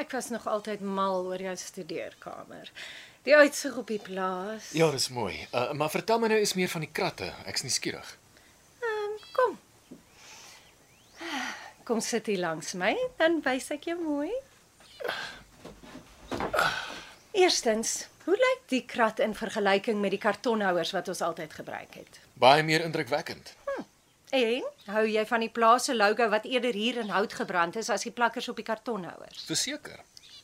Ek was nog altyd mal oor jou studeerkamer. Die uitsig op die plaas.
Ja, dis mooi. Uh, maar vertel my nou eens meer van die kratte. Ek's nie skieurig.
Ehm, kom. Kom sit hier langs my, dan wys ek jou mooi. Eerstens, hoe lyk die krat in vergelyking met die kartonhouers wat ons altyd gebruik het?
Baie meer indrukwekkend.
En hou jy van die plaas se logo wat eerder hier in hout gebrand is as die plakkers op die kartonhouers?
Verseker.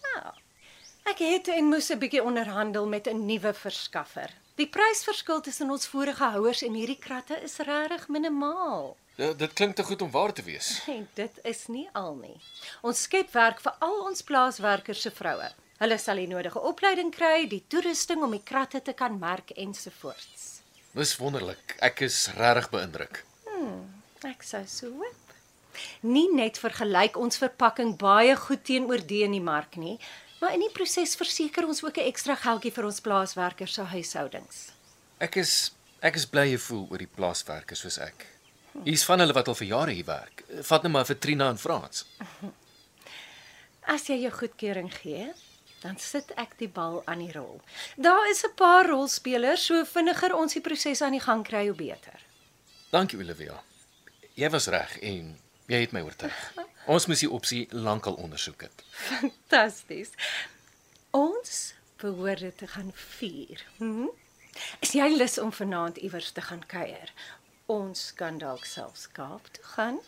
Nou. Ek het en moes 'n bietjie onderhandel met 'n nuwe verskaffer. Die prysverskil tussen ons vorige houers en hierdie kratte is regtig minimaal.
Nou, Dit, dit klink te goed om waar te wees.
En dit is nie al nie. Ons skep werk vir al ons plaaswerkers se vroue. Hulle sal die nodige opleiding kry, die toerusting om die kratte te kan merk ensovoorts.
Dis wonderlik. Ek is regtig beïndruk.
Ek sou so hoop. Nie net vergelyk ons verpakking baie goed teenoor die in die mark nie, maar in die proses verseker ons ook 'n ekstra geldjie vir ons plaaswerkers se huishoudings.
Ek is ek is bly jy voel oor die plaaswerkers soos ek. Hier's van hulle wat al vir jare hier werk. Vat net maar vir Trina en Frans.
As jy jou goedkeuring gee, dan sit ek die bal aan die rol. Daar is 'n paar rolspelers, so vinniger ons die proses aan die gang kry, hoe beter.
Dankie Olivia. Jy was reg en jy het my oortuig. Ons moes die opsie lankal ondersoek het.
Fantasties. Ons behoort dit te gaan vier. Hm? Is jy lus om vanaand iewers te gaan kuier? Ons kan dalk selfs Kaap toe gaan.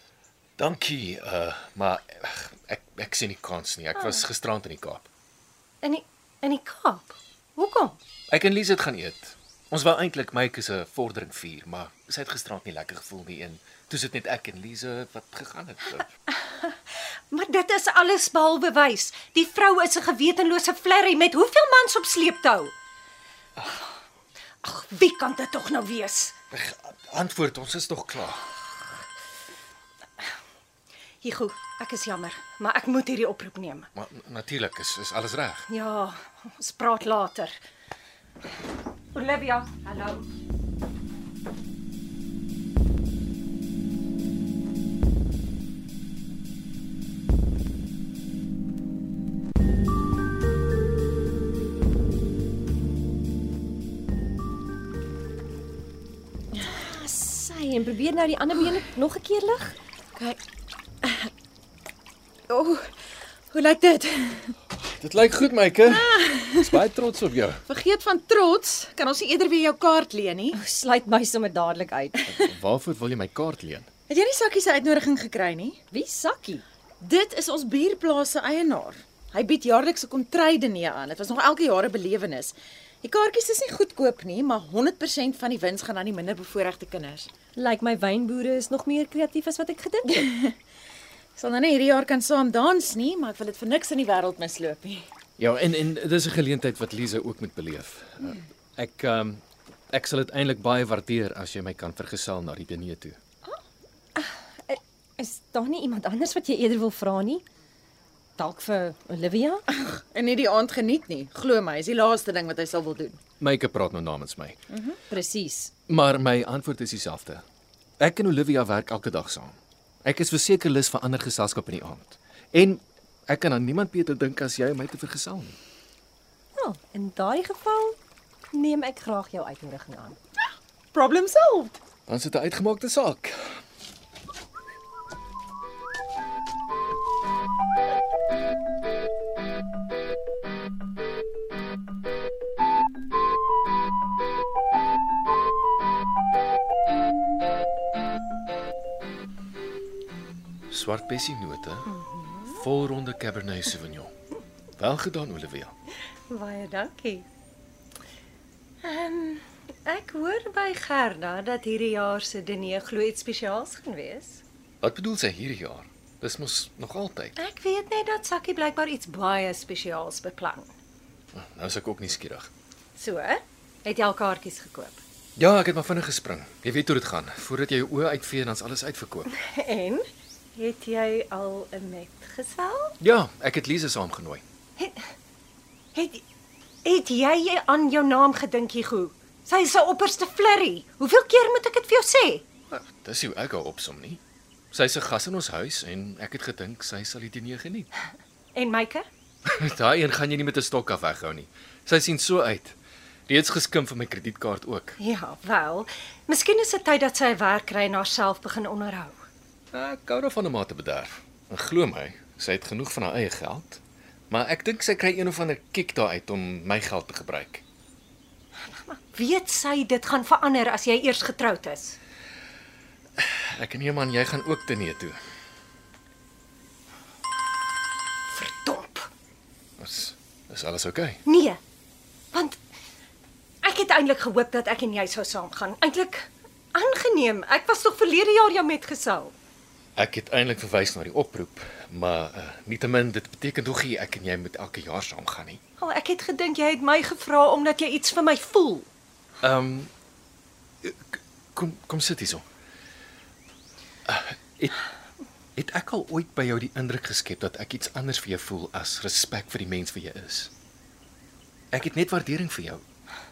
Dankie, uh, maar ag, ek ek sien nie kans nie. Ek was gisterand in die Kaap.
In die in die Kaap. Hoekom?
Ek en Lies het gaan eet. Ons wou eintlik myke se vordering vier, maar sy het gisterand nie lekker gevoel nie en toe sit net ek en Lize wat gegaan het.
Maar dit is alles behalwe wys. Die vrou is 'n gewetenlose flerry met hoeveel mans op sleeptou. Ag, wie kan dit tog nou wees?
Ag, Antwoord, ons is nog klaar.
Hugo, ek is jammer, maar ek moet hierdie oproep neem.
Maar n- natuurlik is is alles reg.
Ja, ons praat later. Olivia, hallo.
Sy en probeer nou die ander been nog 'n keer lig.
Kyk. O, oh, hoe lyk dit?
Dit lyk goed, myke. Ek's baie trots op jou.
Vergeet van trots, kan ons nie eerder weer jou kaart leen nie?
Sluit my sommer dadelik uit.
Waarvoor wil jy my kaart leen?
Het jy nie Sakkie se uitnodiging gekry nie?
Wie sakkie?
Dit is ons bierplaas se eienaar. Hy bied jaarliks 'n kontrydinee aan. Dit was nog elke jaar 'n belewenis. Die kaartjies is nie goedkoop nie, maar 100% van die wins gaan aan die minderbevoorregte kinders.
Lyk my wynboere is nog meer kreatief as wat ek gedink het.
Ek sal nou nie hierdie jaar kan saam dans nie, maar ek wil dit vir niks in die wêreld misloop nie.
Ja, en en dis 'n geleentheid wat Lize ook moet beleef. Uh, Ek ehm um, ek sal dit eintlik baie waardeer as jy my kan vergesel na die diner toe.
Is daar nie iemand anders wat jy eerder wil vra nie? Dalk vir Olivia?
En nie die aand geniet nie. Glo my, is die laaste ding wat hy sal wil doen.
Myke praat nou namens my.
Presies.
Maar my antwoord is dieselfde. Ek en Olivia werk elke dag saam. Ek is verseker lus vir ander geselskap in die aand. En ek kan aan niemand beter dink as jy om my te vergesel nie.
Ja, in daai geval neem ek graag jou uitnodiging aan.
Problem solved.
Dan sit 'n uitgemaakte saak. Swart bessie note, volronde Cabernet Sauvignon. Wel gedaan Olivia.
Baie dankie. Ehm um, ek hoor by Gerda dat hierdie jaar se diner glo iets spesiaals gaan wees.
Wat bedoel sy hierdie jaar? Dis mos nog altyd.
Ek weet net dat Sakkie blykbaar iets baie spesiaals beplan.
Nou is ek ook nie skieurig.
So, het jy al kaartjies gekoop?
Ja, ek het maar vinnig gespring. Jy weet hoe dit gaan. Voordat jy jou oë uitvee, dan's alles uitverkoop.
En het jy al 'n metgesel?
Ja, ek het Lise saamgenooi.
Het het jy aan jou naam gedink, Hugo? Sy is 'n opperste flirry. Hoeveel keer moet ek dit vir jou sê?
Ah, Dis hoe ek haar opsom nie. Sy's 'n gas in ons huis en ek het gedink sy sal die diner geniet.
En Myke?
Daai een gaan jy nie met 'n stok af weghou nie. Sy sien so uit. Reeds geskimp vir my kredietkaart ook.
Ja, wel. Miskien is dit tyd dat sy 'n werk kry en haarself begin onderhou.
Ek hou daarvan om haar te bederf. En glo my, sy het genoeg van haar eie geld. Maar ek dink sy kry een of ander kick daaruit om my geld te gebruik.
Weet sy dit gaan verander as jy eers getroud is?
Ek en nee man, jy gaan ook te nee toe.
Verdomp.
Is is alles oukei? Okay?
Nee. Want ek het eintlik gehoop dat ek en jy sou saamgaan. Eintlik aangeneem. Ek was tog verlede jaar jou metgesel.
Ek het eintlik verwys na die oproep, maar uh, nietemin dit beteken tog nie ek en jy moet elke jaar saam gaan nie.
Al ek het gedink jy het my gevra omdat jy iets vir my voel.
Ehm um, k- kom kom sit hierso. Uh, het het ek al ooit by jou die indruk geskep dat ek iets anders vir jou voel as respek vir die mens wat jy is? Ek het net waardering vir jou.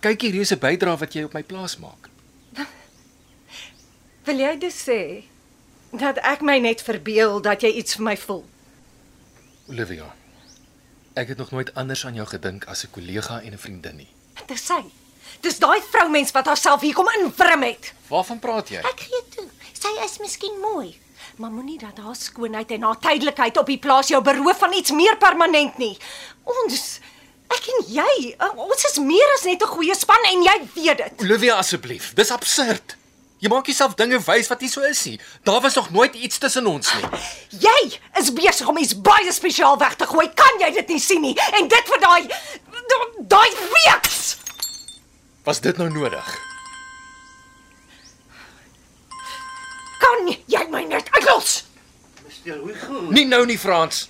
Kyk hier, hier's 'n bydrae wat jy op my plaas maak.
Wil jy dus sê dat ek my net verbeel dat jy iets vir my voel?
Olivia. Ek het nog nooit anders aan jou gedink as 'n kollega en 'n vriendin nie.
Dit is sy. Dis daai vroumens wat haarself hier kom inwrim het.
Waarvan praat jy?
Ek gee toe, sy is miskien mooi.
Maar moenie dat haar skoonheid en haar tydelikheid op die plaas jou beroof van iets meer permanent nie. Ons ek en jy, uh, ons is meer as net 'n goeie span en jy weet dit.
Olivia asseblief, dis absurd. Jy maak jouself dinge wys wat nie so is nie. Daar was nog nooit iets tussen ons nie.
Jy is besig om iets baie spesiaal weg te gooi. Kan jy dit nie sien nie? En dit vir daai da- daai weeks.
Was dit nou nodig?
Kan jy my net uitlos?
Stel hoe goed.
Nie nou nie, Frans.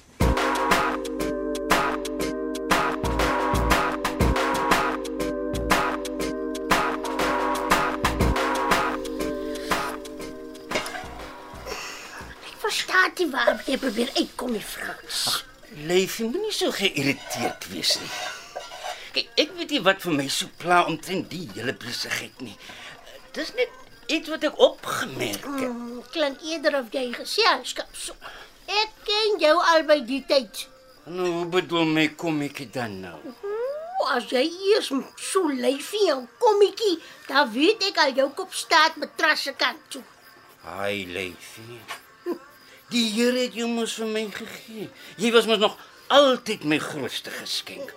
Ek verstaan nie waarom jy probeer uitkom nie, Frans.
Leef, jy moenie so geïrriteerd wees nie. Kyk, ek weet nie wat vir my so pla omtrent die hele besigheid nie. Dis net iets wat ek opgemerk het.
Mm, klink eerder of jy geselskap soek. Ek ken jou al by die tyd.
Nou, hoe bedoel my kom ek dan nou?
O, As jy eers so lyfie en kommetjie, dan weet ek al jou kop staat matras se kant toe.
Ai, Leefie. Die Here het jou mos vir my gegee. Jy was mos nog altyd my grootste geskenk.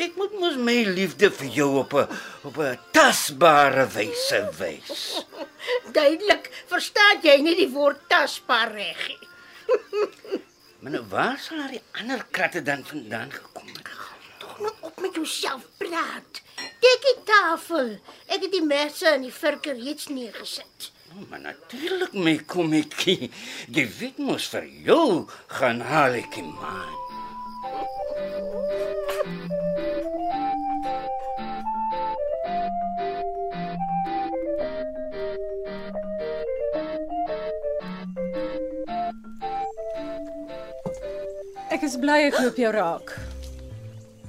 Ek moet mos my liefde vir jou op 'n op 'n tasbare wyse wys.
Duidelik, verstaan jy nie die woord tasbaar reg nie.
Maar nou waar sal al die ander kratte dan vandaan gekom het?
Kom nou op met jouself praat. Kyk die tafel. Ek het die messe in die virker reeds neergesit.
Oh, Maar natuurlik my kommetjie. Jy weet mos vir jou gaan haal ek die maan.
Ek is bly ek loop jou raak.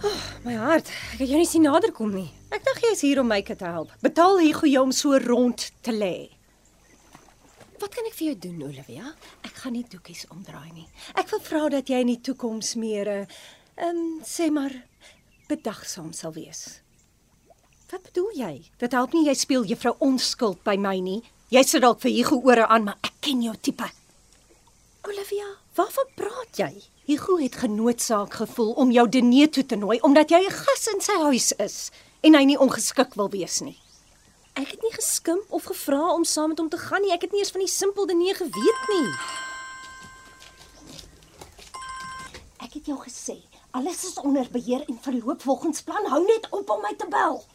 Ah, My hart, ek het jou nie sien naderkom nie. Ek dink jy is hier om my te help. Betaal hier gou jou om so rond te lê. Wat kan ek vir jou doen, Olivia? Ek gaan nie doekies omdraai nie. Ek wil vra dat jy in die toekoms meer eh, ehm um, sê maar bedagsaam sal wees. Wat bedoel jy? Dit help nie jy speel juffrou onskuld by my nie. Jy sit dalk vir Hugo ore aan, maar ek ken jou tipe. Olivia, waarvan praat jy? Hugo het genoodsaak gevoel om jou diner toe te nooi omdat jy 'n gas in sy huis is en hy nie ongeskik wil wees nie. Ek het nie geskimp of gevra om saam met hom te gaan nie. Ek het nie eens van die simpel diner geweet nie.
Ek het jou gesê, alles is onder beheer en verloop volgens plan. Hou net op om my te bel.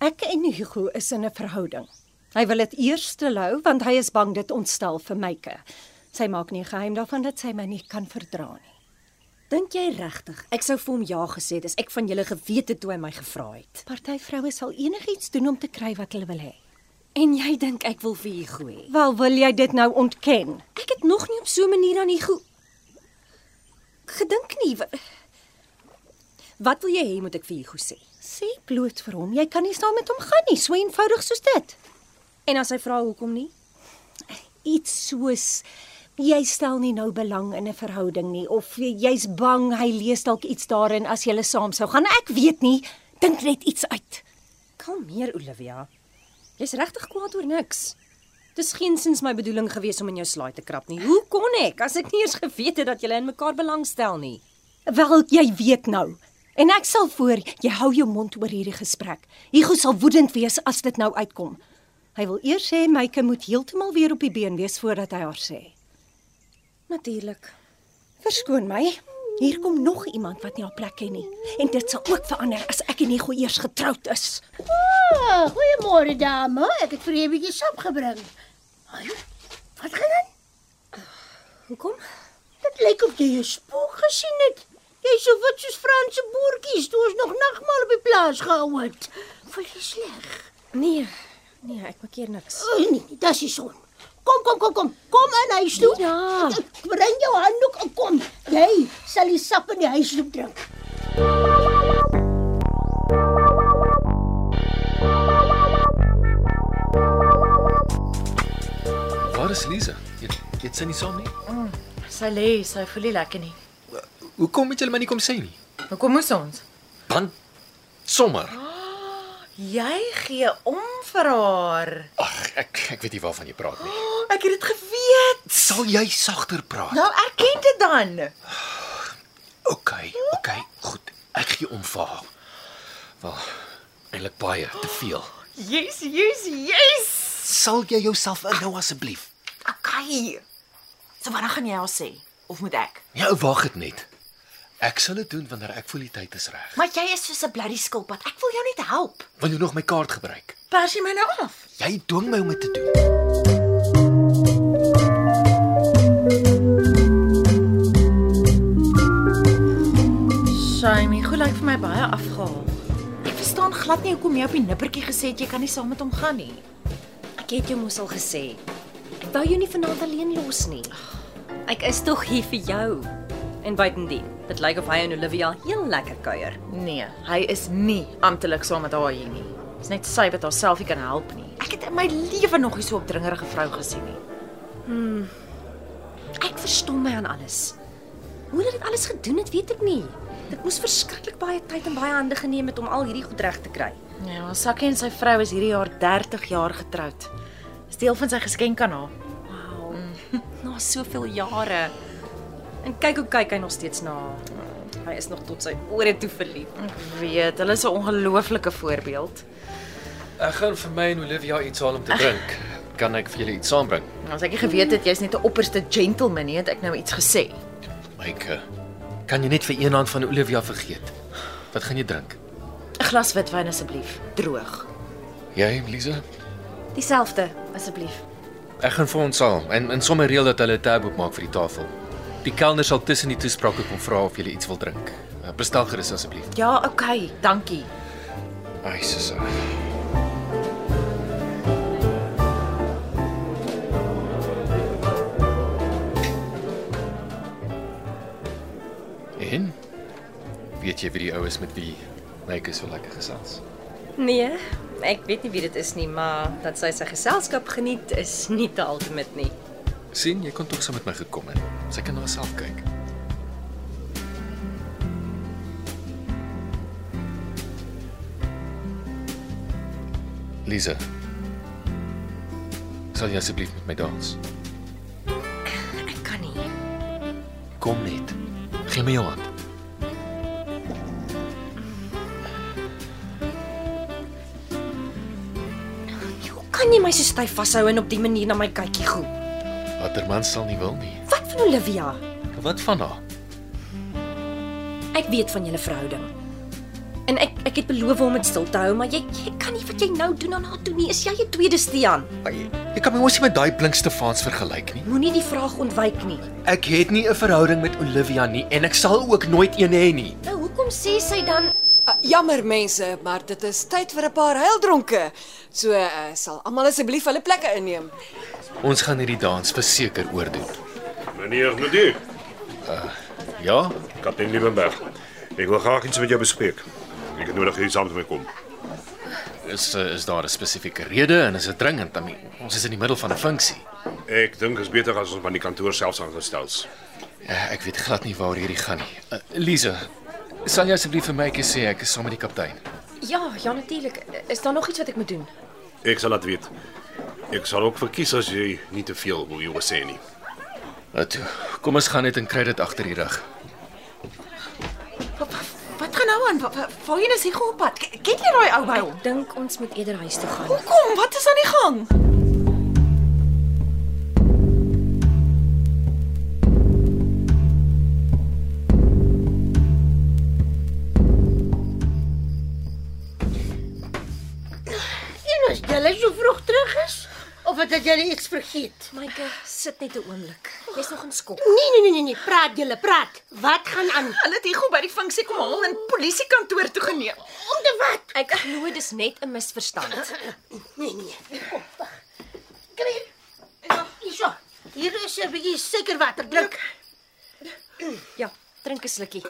Ek en Hugo is in 'n verhouding. Hy wil dit eers te lou want hy is bang dit ontstel vir myke. Sy maak nie geheim daarvan dat sy my nie kan verdra nie.
Dink jy regtig ek sou vir hom ja gesê het as ek van julle geweet het toe hy my gevra het?
Party vroue sal enigiets doen om te kry wat hulle wil hê.
En jy dink ek wil vir Hugo hê?
Wel, wil jy dit nou ontken?
Ek het nog nie op so 'n manier aan Hugo gedink nie. Wa- Wat wil jy hê moet ek vir Hugo sê?
Sê bloot vir hom, jy kan nie saam met hom gaan nie, so eenvoudig soos dit.
En as hy vra hoekom nie?
Iets soos jy stel nie nou belang in 'n verhouding nie of jy's bang hy lees dalk iets daarin as julle saam sou gaan. Ek weet nie, dink net iets uit.
Kalmeer Olivia. Jy's regtig kwaad oor niks. Dis geensins my bedoeling gewees om in jou slaai te krap nie. Hoe kon ek as ek nie eens geweet het dat julle in mekaar belangstel nie?
Wel, jy weet nou. En ek sal voor jy hou jou mond oor hierdie gesprek. Hugo sal woedend wees as dit nou uitkom. Hy wil eers sê Myke moet heeltemal weer op die been wees voordat hy haar sê.
Natuurlik.
Verskoon my. Hier kom nog iemand wat nie haar plek ken nie. En dit sal ook verander as ek en Nico eers getroud is.
Ah, goeiemôre dame. Ek het vir jou 'n bietjie sap gebring. Ai, Wat gaan aan?
Hoekom?
Dit lyk of jy 'n spook gesien het. Jy so wit soos Franse boertjies toe ons nog nagmaal op die plaas gehou het. Voel jy sleg?
Nee. Nee, ek maak hier niks.
O oh, nee, nee, dis die son. Kom, kom, kom, kom. Kom in huis toe.
Ja.
Bring jou handdoek en kom. Jy sal die sap in die huisloop drink.
Waar is Lisa? Dit dit sy nie saam nie.
Sy lê, sy voel nie lekker nie.
Hoekom het julle my nie kom sê nie?
Hoekom moes ons?
Want sommer.
Jy gee om vir haar.
Ag, ek ek weet nie waarvan jy praat nie.
Ek het dit geweet.
Sal jy sagter praat?
Nou erken dit dan.
OK, OK, goed. Ek gee om vir haar. Wel, eintlik baie, te veel.
Yes, yes, yes.
Sal jy jouself inhou asseblief?
Okay. So wanneer gaan jy haar sê of moet ek?
Ja, wag dit net. Ek sal dit doen wanneer ek voel die tyd is reg.
Maar jy is soos 'n bloody skilpad. Ek wil jou net help.
Wil jy nog my kaart gebruik?
Pers jy my nou af?
Jy dwing my om dit te doen.
Shame, goed lyk vir my baie afgehaal. Ek verstaan glad nie hoekom jy op die nippertjie gesê het jy kan nie saam met hom gaan nie.
Ek het jou mos al gesê. Ek wou jou nie vanaand alleen los nie. Ek is tog hier vir jou. En buitendien, dit lyk of hy en Olivia heel lekker kuier.
Nee, hy is nie amptelik saam met haar hier nie. Dis net sy wat haarself nie kan help nie. Ek het in my lewe nog nie so opdringerige vrou gesien nie.
Ek verstom my aan alles. Hoe hulle dit alles gedoen het, weet ek nie. Dit moes verskriklik baie tyd en baie hande geneem het om al hierdie goed reg te kry.
Ja, Sakkie en sy vrou is hierdie jaar 30 jaar getroud. Dis deel van sy geskenk aan haar.
Wow. Na soveel jare. En kyk hoe kyk hy nog steeds na haar. Hy is nog tot sy ore toe verlief.
Ek weet, hulle is 'n ongelooflike voorbeeld.
Ek gaan vir my en Olivia iets haal om te drink. Kan ek vir julle iets saambring?
Nou, As ek nie geweet het jy's net 'n opperste gentleman nie, het ek nou iets gesê.
Myke, kan jy net vir een hand van Olivia vergeet? Wat gaan jy drink?
'n Glas witwyn asseblief, droog.
Jy, Lisa?
Dieselfde, asseblief.
Ek gaan vir ons saam en en sommer reël dat hulle 'n tab oopmaak vir die tafel. Die kelner sal tussen die toesprake kom vra of jy iets wil drink. Uh, Bestel gerus asseblief.
Ja, okay, dankie.
Ai, sussie. En weet jy wie die ou is met wie Nike so lekker gesels?
Nee, ek weet nie wie dit is nie, maar dat sy sy geselskap geniet is nie te ultimate nie.
sien, jy kon tog saam met my gekom het. Sy kan na haarself kyk. Lisa. Sal jy asseblief met my dans?
Ek kan nie.
Kom net. Gee my jou hand.
Hoe kan jy my so styf vashou en op dié manier na my kykie goed?
Watter man sal nie wil nie.
Wat van Olivia?
Wat van haar?
Ek weet van julle verhouding. En ek ek het beloof om dit stil te hou, maar jy jy kan nie wat jy nou doen aan haar toe nie. Is jy 'n tweede Stean?
Ai, Jy kan my mos nie met daai blink Stefans vergelyk nie.
Moenie die vraag ontwyk nie.
Ek het nie 'n verhouding met Olivia nie en ek sal ook nooit een hê nie.
Nou hoekom sê sy dan
Uh, jammer mense, maar dit is tyd vir 'n paar huildronke. So uh, sal almal asseblief hulle plekke inneem.
Ons gaan hierdie dans verseker oordoen.
Meneer Nudie,
Ja,
Kaptein Liebenberg. Ik wil graag iets met jou bespreken. Ik heb nodig dat je samen met mij komt.
is eh, is daar 'n spesifieke rede en is dit dringend? I mean, ons is in die middel van 'n funksie.
Ik denk het is beter als ons maar die kantoor zelfs aangesteld is.
Eh, Ek weet glad nie waar hierdie gaan nie. Uh, Lize, sal jy asseblief vir my netjies sê ek is saam met die kaptein?
Ja, ja natuurlik. Is daar nog iets wat ek moet doen?
Ik zal het weten. Ik zal ook verkiezen als je niet te veel wil jongen zijn. nie.
Nou toe, kom ons gaan net en kry dit agter die rug.
Wat gaan nou aan? Wa- wa- Waarheen is hy op pad? K- Ken jy daai ou by hom?
Dink ons moet eerder huis toe gaan.
Kom, wat is aan die gang?
En as julle so vroeg terug is of het dat julle iets vergeet?
Myke, sit net 'n oomblik. Jy's nog in skop.
Nee nee nee nee, nee. praat julle, praat. Wat gaan aan?
Hulle het Hugo by die funksie kom haal en polisiekantoor toe geneem.
Om te wat?
Ek glo dis net 'n misverstand.
Nee nee. Kom wag. Kom hier. Ja, hierso. Hier is 'n bietjie suikerwater drink.
Ja, drink 'n slukkie.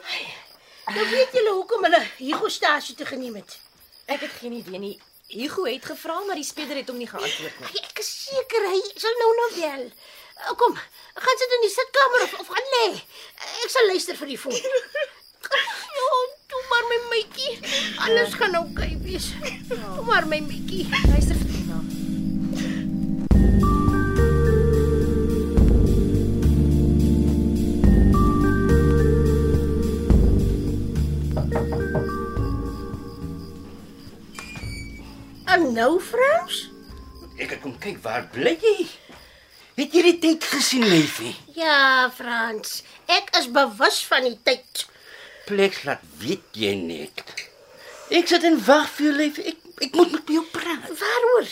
Nou weet julle hoekom hulle Hugo stasie toe geneem het.
Ek het geen idee nie. Hugo het gevra, maar die speler het hom nie geantwoord nie.
Ag, Ek is seker hy sal nou nou bel. Eh, Kom, gaan sit in die sitkamer of of gaan lê. Ek sal luister vir die foon. Ja, toe maar my maatjie. Alles gaan oukei okay wees. Toe maar my maatjie.
Luister vir Tina.
En nou, Frans?
Ek het kom kyk waar bly jy? Het jy die tyd gesien, Leefie?
Ja, Frans. Ek is bewus van die tyd.
Plek laat weet jy net. Ek sit en wag vir jou, Leefie. Ek ek moet met jou praat.
Waaroor?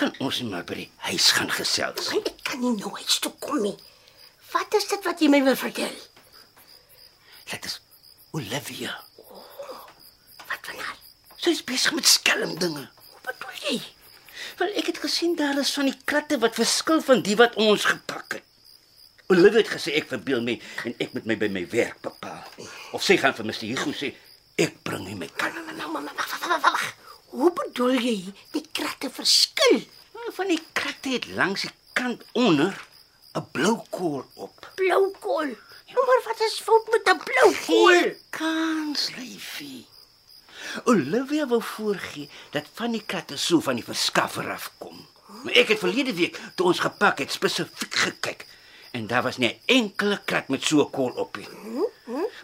Kan ons nie maar by die huis gaan gesels?
Ek kan nie nou huis toe kom nie. Wat is dit wat jy my wil vertel?
Dit is Olivia.
Wat van haar?
Sy's besig met skelm dinge.
Hoe bedoel jy?
Wel, ek het gesien daar is van die kratte wat verskil van die wat ons gepak het. Olivia het gesê ek verbeel my en ek moet my by my werk bepaal. Of sy gaan vir Mr. Hugo sê ek bring nie my kan.
Nou, maar maar wag, wag, wag, wag, wag. Hoe bedoel jy die kratte verskil?
Nou, Van die kratte het langs die kant onder 'n blou kool op.
Blou kool. Nou maar wat is fout met 'n blou kool?
kans, liefie. Olivia wou voorgee dat van die kratte so van die verskaffer af kom. Maar ek het verlede week toe ons gepak het spesifiek gekyk en daar was nie 'n enkele krat met so 'n kool op nie.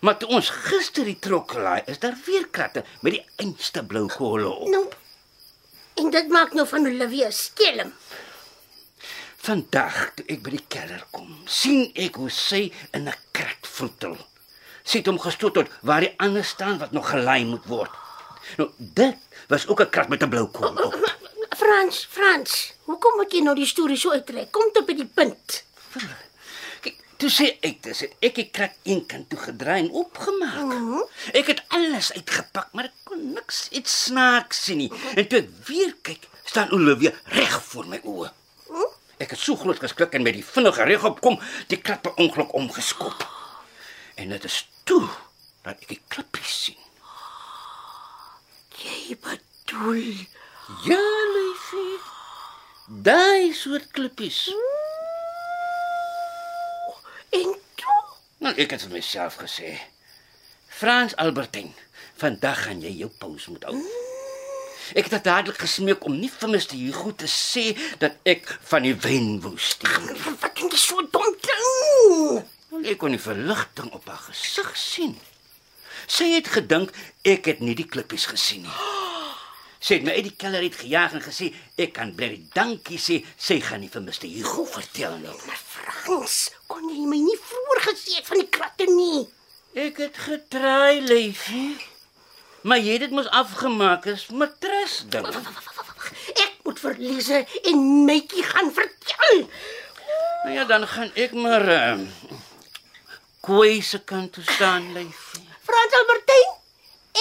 Maar toe ons gister die trokke laai, is daar weer kratte met die einste blou kolle op.
Nou. En dit maak nou van Olivia skelm.
Vandag toe ek by die kelder kom, sien ek hoe sy in 'n krat vroetel. Sy het hom gestoot tot waar die ander staan wat nog gelaai moet word. Nou, dit was ook 'n krat met 'n blou kool op.
Frans, Frans, hoekom moet jy nou die storie so uittrek? Kom tot by die punt.
Kyk, toe sê ek dis het ek die krat een kant toe gedraai en oopgemaak. Ek het alles uitgepak, maar ek kon niks iets snaaks sien nie. En toe ek weer kyk, staan Olivia reg voor my oë. Ek het so groot geskrik en met die vinnige regop kom, die krat per ongeluk omgeskop. En dit is toe dat ek die klippies sien.
Jy bedoel,
Ja, liefie. Daai soort klippies.
en toe
Nou ek het vir myself gesê. Frans Albertin, vandag gaan jy jou pause moet hou. Ek het dit dadelik gesmeek om nie vir Mr. Hugo te sê dat ek van die wyn wou steel. nie.
wat doen jy so dom ding?
Wel, Ek kon die verligting op haar gesig sien. Sy het gedink ek het nie die klippies gesien nie. Sy het my uit die kelder uit gejaag en gesê ek kan bly die dankie sê sy gaan nie vir Mr. Hugo nou. vertel nie.
Frans, kon jy my nie vroeër gesê het van die kratte nie?
Ek het getraai, liefie. maar jy het dit mos afgemaak Nou as matres ding.
Ek moet vir Lize en Mytjie gaan vertel.
Nou ja, dan gaan ek maar ehm uh, kwee se kant toe staan lyf.
Frans Albertyn,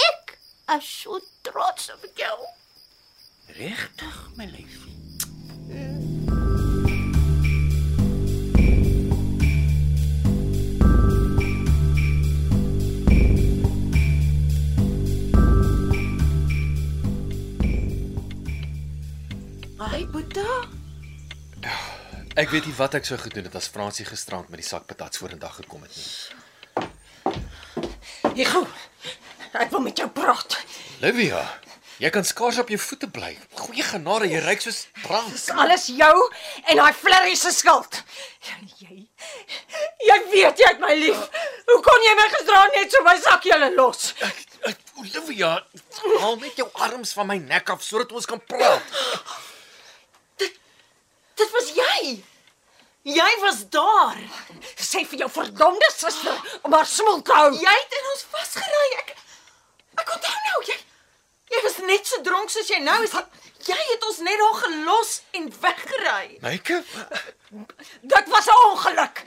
ek is so trots op jou.
Regtig, my lief.
Ai, Boeta.
Ek weet nie wat ek sou gedoen het as Fransie gisterand met die sak patats vorendag gekom het nie.
Higo. Ek wil met jou praat.
Livia, jy kan skaars op jou voete bly. Goeie genade, jy ryk soos drank.
Dis alles jou en daai flirrie se skuld. Jy jy weet jy het my lief. Hoe kon jy my gisteraand net so my sak julle los?
Olivia, haal net jou arms van my nek af sodat ons kan praat.
Dit was jy. Jy was daar. Sê vir jou verdomde suster om haar smoel te hou. Jy het in ons vasgery. Ek ek onthou nou jy jy was net so dronk soos jy nou is. Jy het ons net daar gelos en weggery.
Myke,
Dit was 'n ongeluk.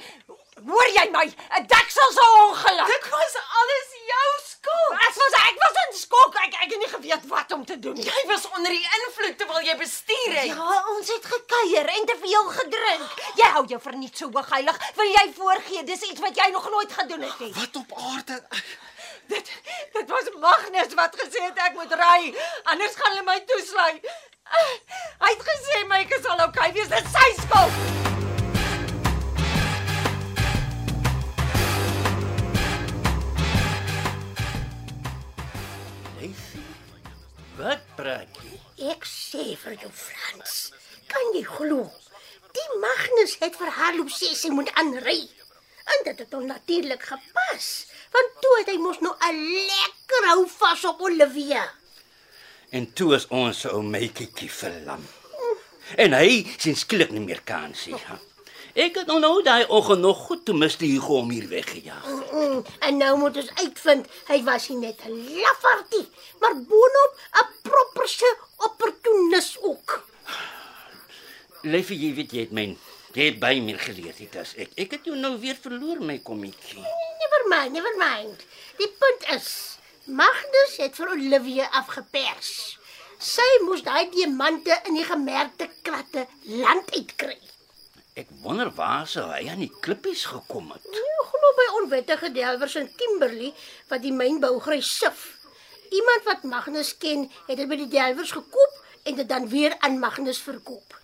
Hoor jy my? 'n Deksel se ongeluk. Dit was alles jou skuld. Ek was ek was in skok. Ek ek het nie geweet wat om te doen nie. Jy was onder die invloed terwyl jy bestuur het.
Ja, ons het gekuier en te veel gedrink.
Jy hou jou verniet so hoogheilig. Wil jy voorgee dis iets wat jy nog nooit gedoen het nie.
Wat op aarde?
Dit dit was Magnus wat gesê het ek moet ry, anders gaan hulle my toesly. Hy het gesê my ek sal okay wees, dit is sy skuld.
Wat praat jy?
Ek sê vir jou Frans, kan jy glo? Die Magnus het vir haar obsessie moet aanry. En dit het hom natuurlik gepas, want toe het hy mos nou 'n lekker hou vas op Olivia.
En toe is ons ou meetjie verlam. En hy sien skielik nie meer kans nie. Ek het nou nou daai oggend nog goed toe mis die Hugo om hier weggejaag.
Mm -mm. En nou moet ons uitvind, hy was nie net 'n lafaartie, maar boonop 'n propperse opportunis ook.
Liefie, jy weet jy het my jy het by my geleer dit as ek. Ek het jou nou weer verloor my kommetjie.
Never mind, never mind. Die punt is, Magnus het vir Olivia afgepers. Sy moes daai diamante in die gemerkte kratte land uitkry.
Ek wonder waar sou hy aan die klippies gekom het.
Nou glo by onwettige delwers in Kimberley wat die mynbougrys sif. Iemand wat Magnus ken, het dit by die delwers gekoop en dit dan weer aan Magnus verkoop.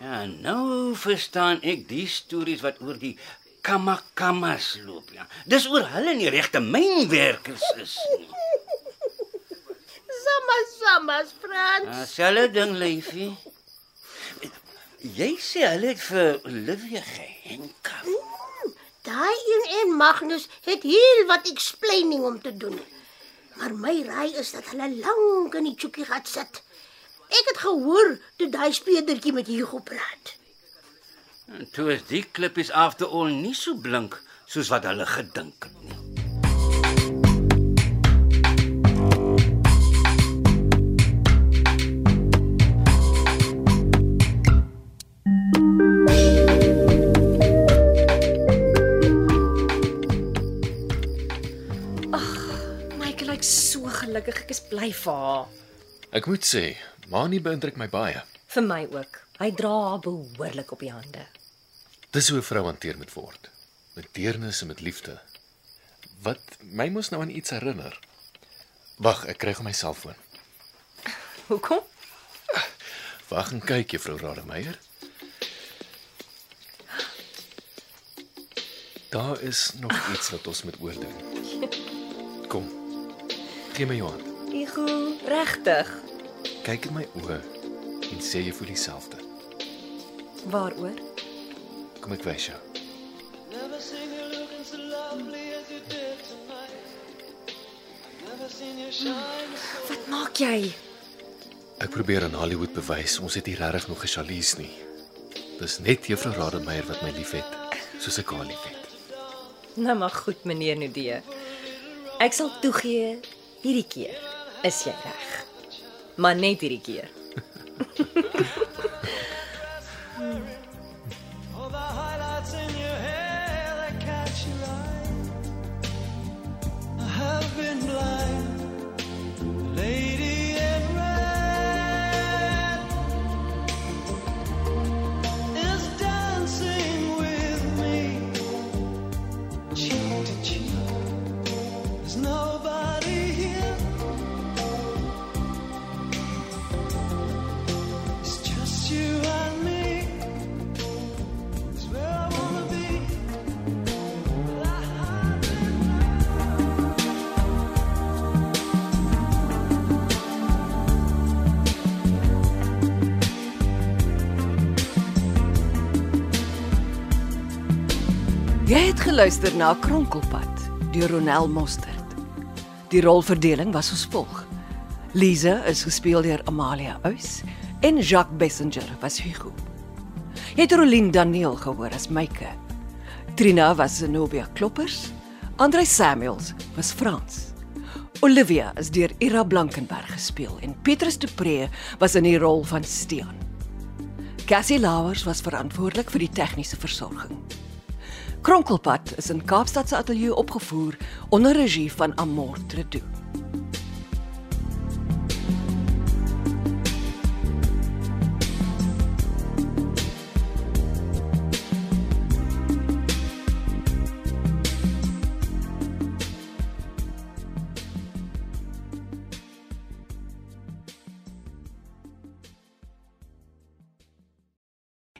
Ja, nou verstaan ek die stories wat oor die kamakamas loop, ja. Dis oor hulle nie regte mynwerkers is nie.
Samma samma Frans.
Ja, Selfe ding, Liefie. Jy sê hulle het vir Olivia gehenk.
Daai een en Magnus het heel wat explaining om te doen. Maar my raai is dat hulle lank in die chookie gat sit. Ek het gehoor toe daai speedertjie met Hugo praat.
En toe is die klippies after all nie so blink soos wat hulle gedink het nie.
Myke lyk so gelukkig. Ek is bly vir haar.
Ek moet sê, Mani beïndruk my baie.
Vir my ook. Hy dra haar behoorlik op die hande.
Dis hoe 'n vrou hanteer moet word. Met deernis en met liefde. Wat my mos nou aan iets herinner. Wag, ek kry gou my selfoon.
Hoekom?
Wag en kyk, Juffrou Rademeier. Daar is nog iets wat ons moet oordoen. Kom. Gee my jou hand.
Ego, regtig?
Kyk in my oë en sê jy voel dieselfde.
Waaroor?
Kom ek wys jou.
Never seen you looking so lovely as you did tonight. Never seen you shine so
Wat maak jy?
Ek probeer aan Hollywood bewys ons het nie regtig nog gesjalies nie. Dis net Juffrou Rademeier wat my liefhet, soos ek haar liefhet.
Nou maar goed, meneer Nudee. Ek sal toegee hierdie keer is jy reg. Maar net hierdie keer.
All the highlights in your hair that catch your eye. I have been blind, lady in red is dancing with me, cheek to cheek. There's nobody here. It's just you and me. It's where I wanna be.
Jy het geluister na Kronkelpad deur Ronel Mostert. Die rolverdeling was soos volg: Lize is gespeel deur Amalia Uys en Jacques Bessenger was Hugo. Jy het Rolien Daniel gehoor as Myke. Trina was Zenobia Kloppers, Andre Samuels was Frans. Olivia is deur Ira Blankenberg gespeel en Petrus Dupré was in die rol van Stean. Cassie Lauers was verantwoordelik vir die tegniese versorging. Kronkelpad is in Kaapstad se ateljee opgevoer onder regie van Amor Tredu.